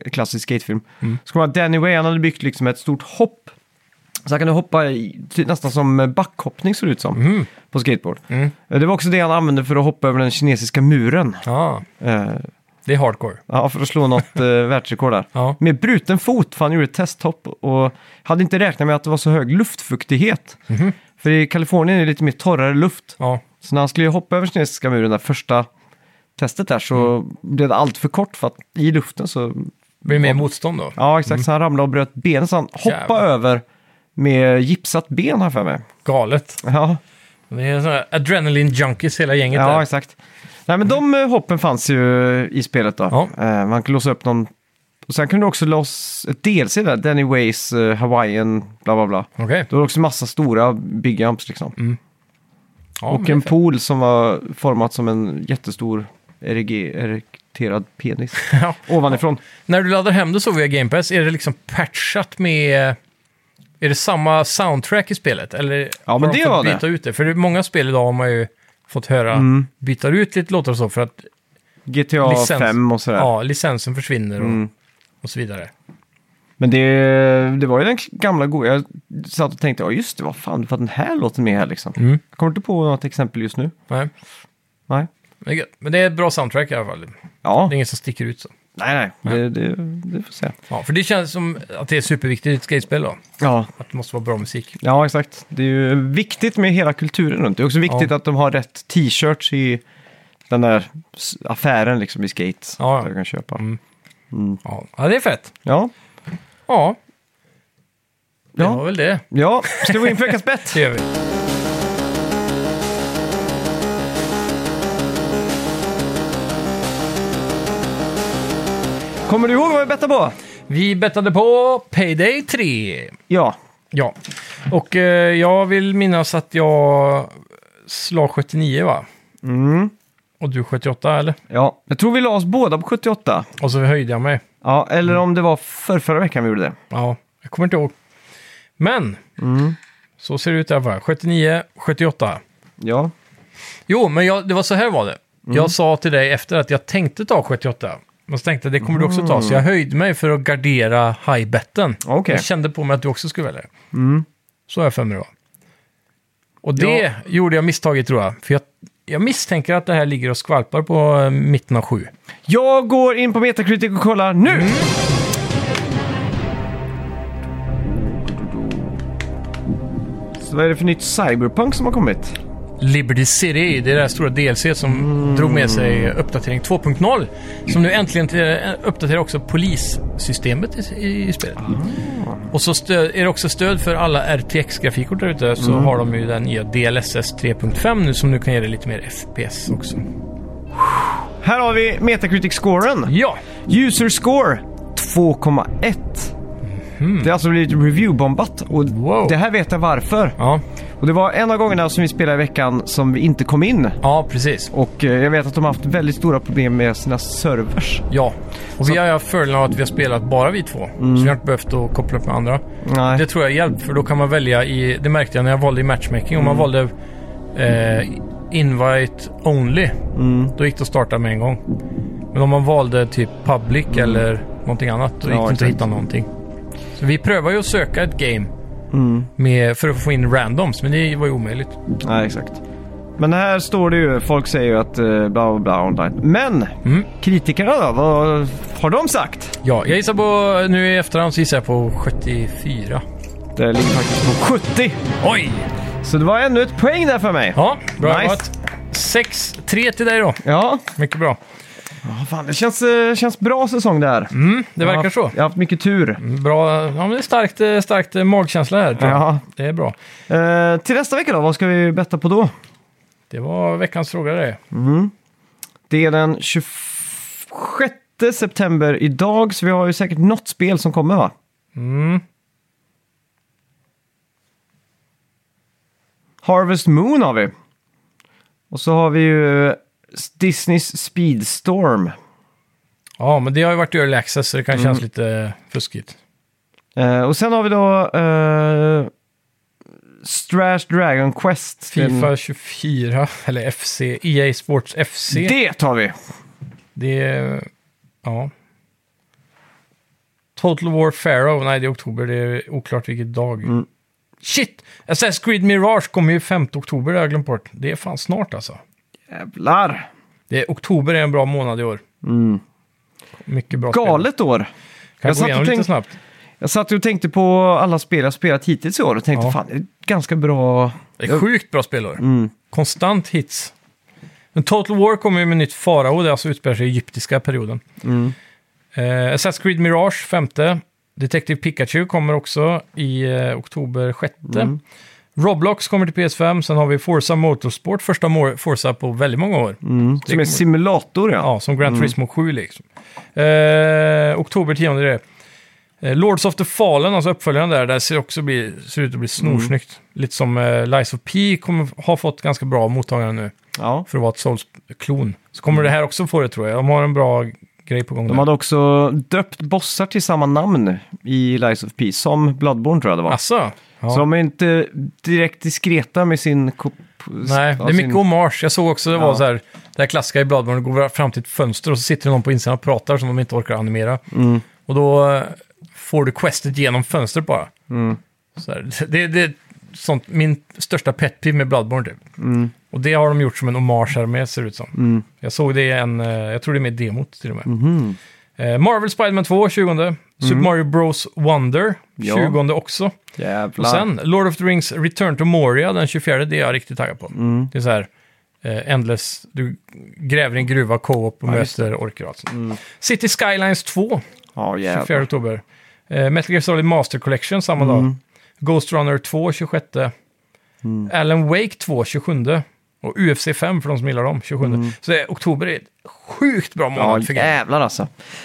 [SPEAKER 1] en klassisk skatefilm.
[SPEAKER 2] Mm.
[SPEAKER 1] Så kommer jag ihåg att Danny Way, han hade byggt liksom ett stort hopp. Så han kunde hoppa i, ty- nästan som backhoppning såg det ut som, på skateboard.
[SPEAKER 2] Mm.
[SPEAKER 1] Eh, Det var också det han använde för att hoppa över den kinesiska muren.
[SPEAKER 2] Ja,
[SPEAKER 1] Eh,
[SPEAKER 2] det är hardcore.
[SPEAKER 1] Ja, för att slå något eh, världsrekord där.
[SPEAKER 2] Ja.
[SPEAKER 1] Med bruten fot, för han gjorde ett testhopp och hade inte räknat med att det var så hög luftfuktighet.
[SPEAKER 2] Mhm.
[SPEAKER 1] För i Kalifornien är det lite mer torrare luft.
[SPEAKER 2] Ja,
[SPEAKER 1] Så när han skulle hoppa över kinesiska muren, där första testet där, så
[SPEAKER 2] Mm.
[SPEAKER 1] blev det allt för kort för att i luften så...
[SPEAKER 2] blir det mer motstånd då?
[SPEAKER 1] Ja, exakt. Så han ramlade och bröt benet, så han hoppade
[SPEAKER 2] Mm. Jävlar.
[SPEAKER 1] över med gipsat ben här för mig.
[SPEAKER 2] Galet.
[SPEAKER 1] Ja,
[SPEAKER 2] Det är sådana här adrenaline junkies hela gänget
[SPEAKER 1] ja
[SPEAKER 2] där.
[SPEAKER 1] exakt. Nej, men de eh, hoppen fanns ju i spelet då.
[SPEAKER 2] Mm. Ja.
[SPEAKER 1] Eh, Man kunde låsa upp någon... Och sen kunde du också låsa ett DLC där, Danny Ways, eh, Hawaiian, bla bla bla.
[SPEAKER 2] Okej.
[SPEAKER 1] Då var det också massa stora big jumps liksom.
[SPEAKER 2] Mm. Ja, men
[SPEAKER 1] och
[SPEAKER 2] det är
[SPEAKER 1] en
[SPEAKER 2] fett.
[SPEAKER 1] pool som var format som en jättestor ereg- erekterad penis.
[SPEAKER 2] Ja.
[SPEAKER 1] Ovanifrån.
[SPEAKER 2] När du laddar hem det så via Game Pass, är det liksom patchat med... Är det samma soundtrack i spelet? Eller har
[SPEAKER 1] men
[SPEAKER 2] de
[SPEAKER 1] det
[SPEAKER 2] fått
[SPEAKER 1] var det. Mm.
[SPEAKER 2] byta ut det? För det är många spel idag har man ju fått höra byta ut lite låtar och så för att
[SPEAKER 1] GTA
[SPEAKER 2] Licens.
[SPEAKER 1] 5 och sådär.
[SPEAKER 2] ja, licensen försvinner och,
[SPEAKER 1] Mm.
[SPEAKER 2] och så vidare.
[SPEAKER 1] Men det, det var ju den gamla goda. Jag satt och tänkte, ja just det, vad fan, för den här låten med här liksom.
[SPEAKER 2] Mm.
[SPEAKER 1] Jag kommer inte på något exempel just nu.
[SPEAKER 2] Nej.
[SPEAKER 1] Nej.
[SPEAKER 2] Men det är- Men det är ett bra soundtrack i alla fall.
[SPEAKER 1] Ja,
[SPEAKER 2] Det är inget som sticker ut så.
[SPEAKER 1] nej, nej, Det, det, det får se.
[SPEAKER 2] Ja, för det känns som att det är superviktigt i ett skatespel då.
[SPEAKER 1] Ja.
[SPEAKER 2] Att det måste vara bra musik.
[SPEAKER 1] ja, exakt. Det är ju viktigt med hela kulturen runt. Det är också viktigt
[SPEAKER 2] Ja.
[SPEAKER 1] att de har rätt t-shirts i den där s- affären liksom i skate.
[SPEAKER 2] Ja, ja.
[SPEAKER 1] Där du kan köpa.
[SPEAKER 2] Ja, ja det är fett.
[SPEAKER 1] Ja,
[SPEAKER 2] Ja, det
[SPEAKER 1] Ja.
[SPEAKER 2] var väl det.
[SPEAKER 1] ja. Ska vi gå in på veckans bett?
[SPEAKER 2] Det gör vi.
[SPEAKER 1] Kommer du ihåg vad vi bettade på?
[SPEAKER 2] Vi bettade på Payday 3.
[SPEAKER 1] Ja.
[SPEAKER 2] Ja, och eh, jag vill minnas att jag slog 79 va?
[SPEAKER 1] Mm.
[SPEAKER 2] Och du 78 eller?
[SPEAKER 1] Ja, jag tror vi la oss båda på 78.
[SPEAKER 2] Och så höjde jag mig.
[SPEAKER 1] Ja, eller
[SPEAKER 2] Mm.
[SPEAKER 1] om det var för förra veckan vi gjorde det.
[SPEAKER 2] Ja, jag kommer inte ihåg. Men, så ser det ut där bara. 79, 78.
[SPEAKER 1] Ja.
[SPEAKER 2] Jo, men jag, det var så här var det.
[SPEAKER 1] Mm.
[SPEAKER 2] Jag sa till dig efter att jag tänkte ta 78. Men så tänkte jag det kommer du också ta. Så jag höjde mig för att gardera high-betten.
[SPEAKER 1] Mm. Okej. Mm.
[SPEAKER 2] Jag kände på mig att du också skulle välja det. Så har jag för mig det var. Och det
[SPEAKER 1] Ja.
[SPEAKER 2] gjorde jag misstaget tror jag. För jag, jag misstänker att det här ligger och skvalpar på eh, mitten av sju.
[SPEAKER 1] Jag går in på Metacritic och kollar nu!
[SPEAKER 2] Mm.
[SPEAKER 1] Så vad är det för nytt Cyberpunk som har kommit?
[SPEAKER 2] Liberty City, det är det här stora DLC som drog med sig uppdatering 2.0. Som nu äntligen till- uppdaterar också polissystemet i, i, i spelet. Och så stö- är det också stöd för alla RTX-grafikkort där ute. Så har de ju den nya DLSS 3.5 nu som nu kan ge dig lite mer FPS också.
[SPEAKER 1] Här har vi Metacritic-scoren.
[SPEAKER 2] Ja,
[SPEAKER 1] User score 2,1. Det har alltså blivit review-bombat och
[SPEAKER 2] Mhm. Wow.
[SPEAKER 1] det här vet jag varför.
[SPEAKER 2] ja.
[SPEAKER 1] Och det var en av gångerna som vi spelade i veckan som vi inte kom in.
[SPEAKER 2] Ja, precis.
[SPEAKER 1] Och eh, jag vet att de har haft väldigt stora problem med sina servers.
[SPEAKER 2] Ja. Och vi har ju haft fördelen av att vi har spelat bara vi två. Så vi har inte behövt att koppla upp med andra.
[SPEAKER 1] Nej.
[SPEAKER 2] Det tror jag hjälpt, för då kan man välja i... Det märkte jag när jag valde i matchmaking. Om man
[SPEAKER 1] Mm.
[SPEAKER 2] valde eh, invite only,
[SPEAKER 1] Mm.
[SPEAKER 2] då gick det att starta med en gång. Men om man valde typ public eller någonting annat, då gick
[SPEAKER 1] Mm. Ja,
[SPEAKER 2] det inte
[SPEAKER 1] exakt.
[SPEAKER 2] att hitta någonting. Så vi prövar ju att söka ett game
[SPEAKER 1] Mm.
[SPEAKER 2] med, för att få in randoms, men det var ju omöjligt.
[SPEAKER 1] Nej, exakt. Men här står det ju, folk säger ju att eh, bla bla bla online. Men
[SPEAKER 2] Mm.
[SPEAKER 1] kritikerna då, vad har de sagt?
[SPEAKER 2] Ja, jag gissar på... Nu i efterhand så gissar jag på 74.
[SPEAKER 1] Det ligger faktiskt på 70.
[SPEAKER 2] Oj!
[SPEAKER 1] Så det var ännu ett poäng där för mig.
[SPEAKER 2] Ja, bra
[SPEAKER 1] Nice.
[SPEAKER 2] jobbat. 6-3 till dig då.
[SPEAKER 1] Ja,
[SPEAKER 2] Mycket bra.
[SPEAKER 1] Ja, fan, det känns, eh, känns bra säsong det här.
[SPEAKER 2] Det Mm, verkar så.
[SPEAKER 1] Jag har haft mycket tur.
[SPEAKER 2] Bra, ja men det är starkt, eh, starkt eh, magkänsla här. tror jag.
[SPEAKER 1] Ja.
[SPEAKER 2] Det är bra.
[SPEAKER 1] Eh, till nästa vecka då, vad ska vi betta på då?
[SPEAKER 2] Det var veckans fråga det.
[SPEAKER 1] Det är den 26 september idag, så vi har ju säkert något spel som kommer va?
[SPEAKER 2] Mm.
[SPEAKER 1] Harvest Moon har vi. Och så har vi ju eh, Disneys Speedstorm.
[SPEAKER 2] Ja, men det har ju varit early access så det kan kännas lite fuskigt.
[SPEAKER 1] Eh, och sen har vi då eh, Strash Dragon Quest.
[SPEAKER 2] Fifa 24, eller FC, EA Sports FC.
[SPEAKER 1] Den-
[SPEAKER 2] Det,
[SPEAKER 1] Det tar vi!
[SPEAKER 2] är... Ja. Total War Pharaoh, nej det är oktober, det är oklart vilket dag. Shit! Assassin's Creed Mirage kommer ju 5 oktober, det har jag glömt bort. Det är fan snart alltså.
[SPEAKER 1] Jävlar!
[SPEAKER 2] Det är, oktober är en bra månad i år. Mycket bra spel.
[SPEAKER 1] Galet år!
[SPEAKER 2] Kan
[SPEAKER 1] Jag
[SPEAKER 2] jag
[SPEAKER 1] satt
[SPEAKER 2] gå
[SPEAKER 1] och
[SPEAKER 2] igenom lite
[SPEAKER 1] tänkte-
[SPEAKER 2] snabbt?
[SPEAKER 1] Jag satt ju och tänkte på alla spel jag spelat hittills i år och tänkte
[SPEAKER 2] Ja. Mm,
[SPEAKER 1] fan, det är ganska bra.
[SPEAKER 2] Det är sjukt bra spelare. Konstant hits. Men Total War kommer ju med nytt farao, det alltså utspelar sig i egyptiska perioden. Eh, Assassin's Creed Mirage, femte. Detective Pikachu kommer också i eh, oktober, sjätte. Roblox kommer till PS5, sen har vi Forza Motorsport, första mor- Forza på väldigt många år.
[SPEAKER 1] Mm, som
[SPEAKER 2] kommer-
[SPEAKER 1] är simulator ja.
[SPEAKER 2] Ja, som Gran Turismo 7 liksom. Eh, oktober 10 är det. Eh, Lords of the Fallen, alltså uppföljaren där, där ser, också bli, ser ut att bli snorsnyggt.
[SPEAKER 1] Mm.
[SPEAKER 2] Lite som eh, Lies of P kommer ha fått ganska bra mottagande nu
[SPEAKER 1] Ja.
[SPEAKER 2] för att vara ett Souls-klon. Så kommer det här också få det tror jag. De har en bra grej på gång
[SPEAKER 1] Mm. De
[SPEAKER 2] där.
[SPEAKER 1] hade också döpt bossar till samma namn i Lies of Peace, som Bloodborne tror jag det var.
[SPEAKER 2] Asså? Ja.
[SPEAKER 1] Så de är inte direkt diskreta med sin... kop-
[SPEAKER 2] Nej,
[SPEAKER 1] ja,
[SPEAKER 2] det är mycket
[SPEAKER 1] sin...
[SPEAKER 2] hommage. Jag såg också det var
[SPEAKER 1] Ja.
[SPEAKER 2] så här, det här klassiska i Bloodborne, går fram till ett fönster och så sitter det någon på insidan och pratar som de inte orkar animera.
[SPEAKER 1] Mm,
[SPEAKER 2] Och då eh, får du questet genom fönstret bara.
[SPEAKER 1] mm,
[SPEAKER 2] Så här, det, det är sånt, min största pet peeve med Bloodborne typ.
[SPEAKER 1] mm,
[SPEAKER 2] Och det har de gjort som en hommage här med, ser det ut som. Jag såg det i en, eh, jag tror det är med i demot till och
[SPEAKER 1] Mm.
[SPEAKER 2] med.
[SPEAKER 1] mhm.
[SPEAKER 2] Eh, Marvel Spider-Man 2, 20. Super Mario Bros Wonder,
[SPEAKER 1] Ja.
[SPEAKER 2] 20 också.
[SPEAKER 1] Jävlar.
[SPEAKER 2] Och sen Lord of the Rings Return to Moria den 24, det är jag riktigt taggad på.
[SPEAKER 1] Mm.
[SPEAKER 2] Det är så här, eh, endless, du gräver i en gruva, co-op och
[SPEAKER 1] just Mm.
[SPEAKER 2] möter orker och allt sånt. City Skylines 2,
[SPEAKER 1] Ja,
[SPEAKER 2] 24
[SPEAKER 1] jävlar.
[SPEAKER 2] oktober. Eh, Metal Gear Solid Master Collection samma
[SPEAKER 1] Mm.
[SPEAKER 2] dag. Ghost Runner 2, 26. Alan Wake 2, 27. Och UFC 5 för de som gillar dem, 27. Så det, är- oktober är ett sjukt bra
[SPEAKER 1] Mm. Ja,
[SPEAKER 2] månad för gaming.
[SPEAKER 1] jävlar alltså.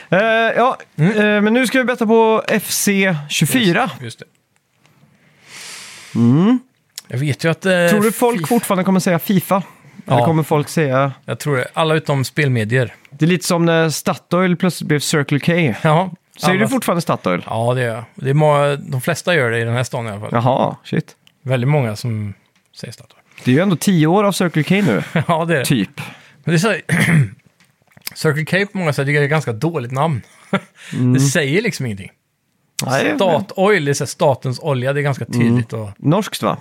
[SPEAKER 1] Eh, ja,
[SPEAKER 2] Mm.
[SPEAKER 1] eh, men nu ska vi betta på FC24.
[SPEAKER 2] Just det. Jag vet ju att... eh,
[SPEAKER 1] Mm. Tror du folk
[SPEAKER 2] FIFA-
[SPEAKER 1] fortfarande kommer säga Fifa? Eller
[SPEAKER 2] Ja.
[SPEAKER 1] kommer folk säga...
[SPEAKER 2] Jag tror det. Alla utom spelmedier.
[SPEAKER 1] Det är lite som när Statoil plötsligt blev Circle K.
[SPEAKER 2] Ja.
[SPEAKER 1] Säger
[SPEAKER 2] alla-
[SPEAKER 1] du fortfarande Statoil?
[SPEAKER 2] Ja, det gör jag. Det är många, de flesta gör det i den här stan i alla fall.
[SPEAKER 1] Jaha, shit.
[SPEAKER 2] Väldigt många som säger Statoil.
[SPEAKER 1] Det är ju ändå tio år av Circle K nu,
[SPEAKER 2] ja, det är det.
[SPEAKER 1] typ.
[SPEAKER 2] Men det är så här, Circle K på många sätt tycker jag är ett ganska dåligt namn. det säger liksom ingenting.
[SPEAKER 1] Nej,
[SPEAKER 2] Stat Oil, det är Mm. så här, statens olja, det är ganska tydligt. Och, mm.
[SPEAKER 1] Norskt va?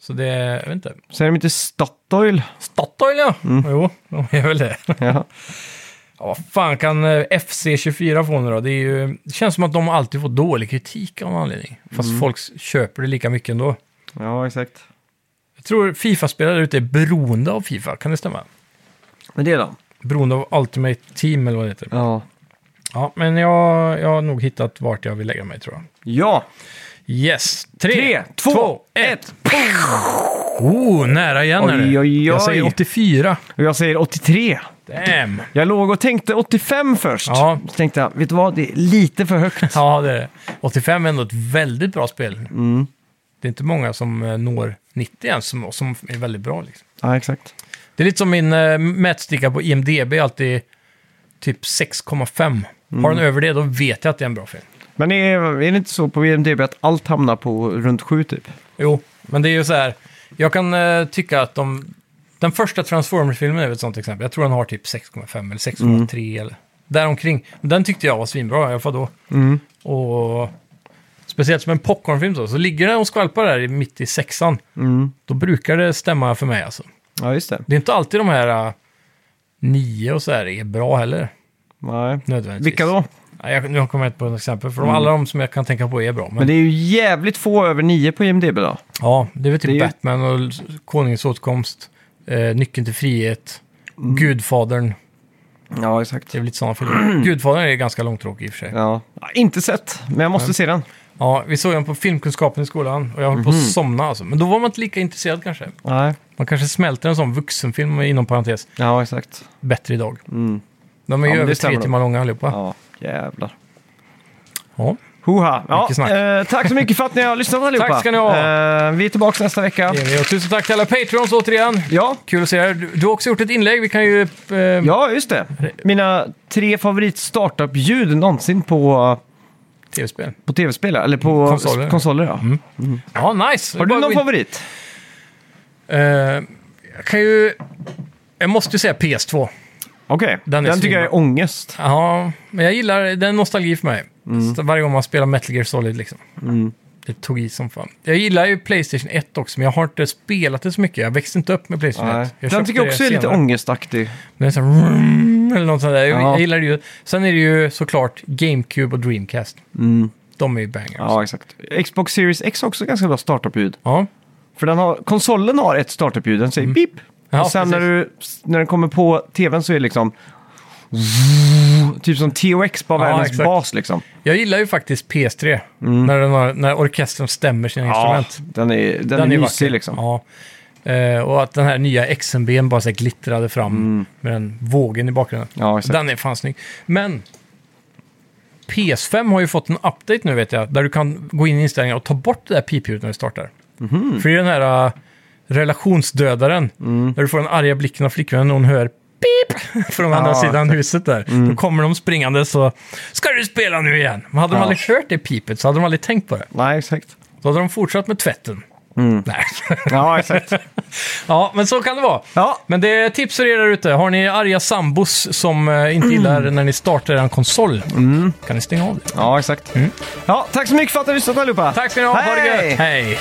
[SPEAKER 2] så det är, jag vet inte.
[SPEAKER 1] Säger de inte Statoil?
[SPEAKER 2] Statoil ja! Jo, de är väl det.
[SPEAKER 1] Ja.
[SPEAKER 2] Ja, vad fan kan eh, FC24 få nu då? Det, är ju, det känns som att de alltid får dålig kritik av någon anledning. Fast folk köper det lika mycket ändå.
[SPEAKER 1] ja, exakt.
[SPEAKER 2] Jag tror Fifa-spelare ute är beroende av Fifa, kan det stämma?
[SPEAKER 1] Men det då?
[SPEAKER 2] Beroende av Ultimate Team eller vad det heter.
[SPEAKER 1] Ja.
[SPEAKER 2] Ja, men jag, jag har nog hittat vart jag vill lägga mig tror jag.
[SPEAKER 1] Ja,
[SPEAKER 2] Yes! Tre,
[SPEAKER 1] Tre, två,
[SPEAKER 2] ett! Oh, nära igen är det.
[SPEAKER 1] Oj, oj, oj.
[SPEAKER 2] Jag säger 84.
[SPEAKER 1] och jag säger 83.
[SPEAKER 2] Damn!
[SPEAKER 1] Jag låg och tänkte 85 först.
[SPEAKER 2] Ja.
[SPEAKER 1] Så tänkte jag, vet du vad, det är lite för högt. Mm.
[SPEAKER 2] Ja, det är det. 85 är ändå ett väldigt bra spel. Det är inte många som eh, når 90 ens, som, som är väldigt bra. Liksom.
[SPEAKER 1] Ja, exakt.
[SPEAKER 2] Det är lite som min eh, mätsticka på IMDB, alltid typ 6,5. Har
[SPEAKER 1] Mm.
[SPEAKER 2] den över det, då vet jag att det är en bra film.
[SPEAKER 1] Men är, är det inte så på IMDB att allt hamnar på runt sju typ?
[SPEAKER 2] Jo, men det är ju så här. Jag kan eh, tycka att de... Den första Transformers-filmen är väl ett sånt exempel. Jag tror den har typ 6,5 eller 6,3 eller däromkring. Men Den tyckte jag var svinbra i alla fall då.
[SPEAKER 1] Mm.
[SPEAKER 2] Och speciellt som en popcornfilm så, så ligger den och skvalpar där i- mitt i sexan.
[SPEAKER 1] Mm.
[SPEAKER 2] Då brukar det stämma för mig alltså.
[SPEAKER 1] Ja, just det.
[SPEAKER 2] Det är inte alltid de här eh, nio och så här är bra heller.
[SPEAKER 1] Nej.
[SPEAKER 2] Nödvändigtvis.
[SPEAKER 1] Vilka då? Mm.
[SPEAKER 2] Ja, jag, nu kommer jag inte på något exempel, för de, alla de som jag kan tänka på är bra. Men,
[SPEAKER 1] Men det är ju jävligt få över nio på IMDB då.
[SPEAKER 2] Ja, det är väl typ
[SPEAKER 1] Det är ju-
[SPEAKER 2] Batman och L- Konungens återkomst, eh, Nyckeln till frihet,
[SPEAKER 1] Mm.
[SPEAKER 2] Gudfadern.
[SPEAKER 1] Ja, exakt.
[SPEAKER 2] Det är väl lite sådana filmer. Gudfadern är ganska långtråkig i och för sig. Ja.
[SPEAKER 1] Ja. Ja, Inte sett, men jag måste se den.
[SPEAKER 2] vi såg den på filmkunskapen i skolan och jag höll på
[SPEAKER 1] Mhm.
[SPEAKER 2] att somna alltså. Men då var man inte lika intresserad kanske.
[SPEAKER 1] Nej.
[SPEAKER 2] Man kanske smälter en sån vuxenfilm inom parentes
[SPEAKER 1] Ja, exakt.
[SPEAKER 2] bättre idag.
[SPEAKER 1] Mm.
[SPEAKER 2] De är
[SPEAKER 1] Ja,
[SPEAKER 2] ju
[SPEAKER 1] men
[SPEAKER 2] över
[SPEAKER 1] det
[SPEAKER 2] tre
[SPEAKER 1] stämmer
[SPEAKER 2] timmar långa allihopa.
[SPEAKER 1] Ja, jävlar.
[SPEAKER 2] Ja.
[SPEAKER 1] Hoha! Ja,
[SPEAKER 2] Mycket snack.
[SPEAKER 1] eh, tack så mycket för att ni har lyssnat allihopa.
[SPEAKER 2] Tack ska ni ha.
[SPEAKER 1] Eh, vi är tillbaka nästa vecka.
[SPEAKER 2] det är vi. Och tusen tack till alla Patreons återigen.
[SPEAKER 1] Ja,
[SPEAKER 2] Kul att se er. Du, du har också gjort ett inlägg. Vi kan ju... Eh,
[SPEAKER 1] ja just det. Mina tre favorit startup-ljud någonsin på,
[SPEAKER 2] Tv-spel.
[SPEAKER 1] på tv-spel, ja. eller på
[SPEAKER 2] Konsoler.
[SPEAKER 1] konsoler ja.
[SPEAKER 2] Ja, nice!
[SPEAKER 1] Har du
[SPEAKER 2] Bara gå
[SPEAKER 1] någon
[SPEAKER 2] in-
[SPEAKER 1] favorit?
[SPEAKER 2] Eh, jag kan ju... Jag måste ju säga PS2.
[SPEAKER 1] Okej, den,
[SPEAKER 2] är
[SPEAKER 1] tycker jag är ångest.
[SPEAKER 2] Ja, men jag gillar... Det är en nostalgi för mig.
[SPEAKER 1] Mm.
[SPEAKER 2] Så Varje gång man spelar Metal Gear Solid liksom. Det tog i som fan. Jag gillar ju Playstation 1 också, men jag har inte spelat det så mycket. Jag växte inte upp med Playstation 1.
[SPEAKER 1] Nej. Den
[SPEAKER 2] Jag köpte
[SPEAKER 1] tycker jag
[SPEAKER 2] det
[SPEAKER 1] också är lite
[SPEAKER 2] senare.
[SPEAKER 1] ångestaktig.
[SPEAKER 2] Den är så här, vroom, eller något sånt där. Jag,
[SPEAKER 1] Ja.
[SPEAKER 2] jag gillar det ju. Sen är det ju såklart GameCube och Dreamcast. De är ju bangers. Ja.
[SPEAKER 1] Mm. Ja, exakt. Xbox Series X har också ganska bra startup-ljud. För den har, konsolen har ett startup-ljud, den säger pip.
[SPEAKER 2] Mm. Ja,
[SPEAKER 1] och sen när,
[SPEAKER 2] precis.
[SPEAKER 1] du, när den kommer på tvn så är det liksom... Typ som THX, bara
[SPEAKER 2] Ja,
[SPEAKER 1] världens
[SPEAKER 2] exakt.
[SPEAKER 1] bas liksom.
[SPEAKER 2] Jag gillar ju faktiskt PS3.
[SPEAKER 1] Mm.
[SPEAKER 2] När, den har, när orkestern stämmer sina instrument.
[SPEAKER 1] den är, den är
[SPEAKER 2] ju
[SPEAKER 1] mysig
[SPEAKER 2] vacker.
[SPEAKER 1] liksom.
[SPEAKER 2] Ja. Eh, och att den här nya XMB'n bara så här glittrade fram med den vågen i bakgrunden.
[SPEAKER 1] Mm. Ja, exakt.
[SPEAKER 2] Den är fan snygg. Men PS5 har ju fått en update nu vet jag, där du kan gå in i inställningar och ta bort det där pipljudet när du startar.
[SPEAKER 1] Mhm.
[SPEAKER 2] För det är den här eh, relationsdödaren,
[SPEAKER 1] Mm.
[SPEAKER 2] där du får den arga blicken av flickvännen när hon hör pip från andra
[SPEAKER 1] Ja, Mm.
[SPEAKER 2] sidan huset där. Då kommer de springande så ska du spela nu igen? Men hade de
[SPEAKER 1] Ja.
[SPEAKER 2] aldrig hört det pipet så hade de aldrig tänkt på det.
[SPEAKER 1] Nej, exakt.
[SPEAKER 2] Då hade de fortsatt med tvätten. Nej.
[SPEAKER 1] Ja, exakt.
[SPEAKER 2] Ja, men så kan det vara.
[SPEAKER 1] Ja.
[SPEAKER 2] Men det är tips för er där ute. Har ni arga sambos som eh, inte gillar
[SPEAKER 1] Mm.
[SPEAKER 2] när ni startar er konsol, kan ni stänga av det.
[SPEAKER 1] ja, exakt. Ja, tack så mycket för att ni har lyssnat allihopa.
[SPEAKER 2] Mm. Tack ska ni ha. Ha det
[SPEAKER 1] Hej!
[SPEAKER 2] gött. Hej!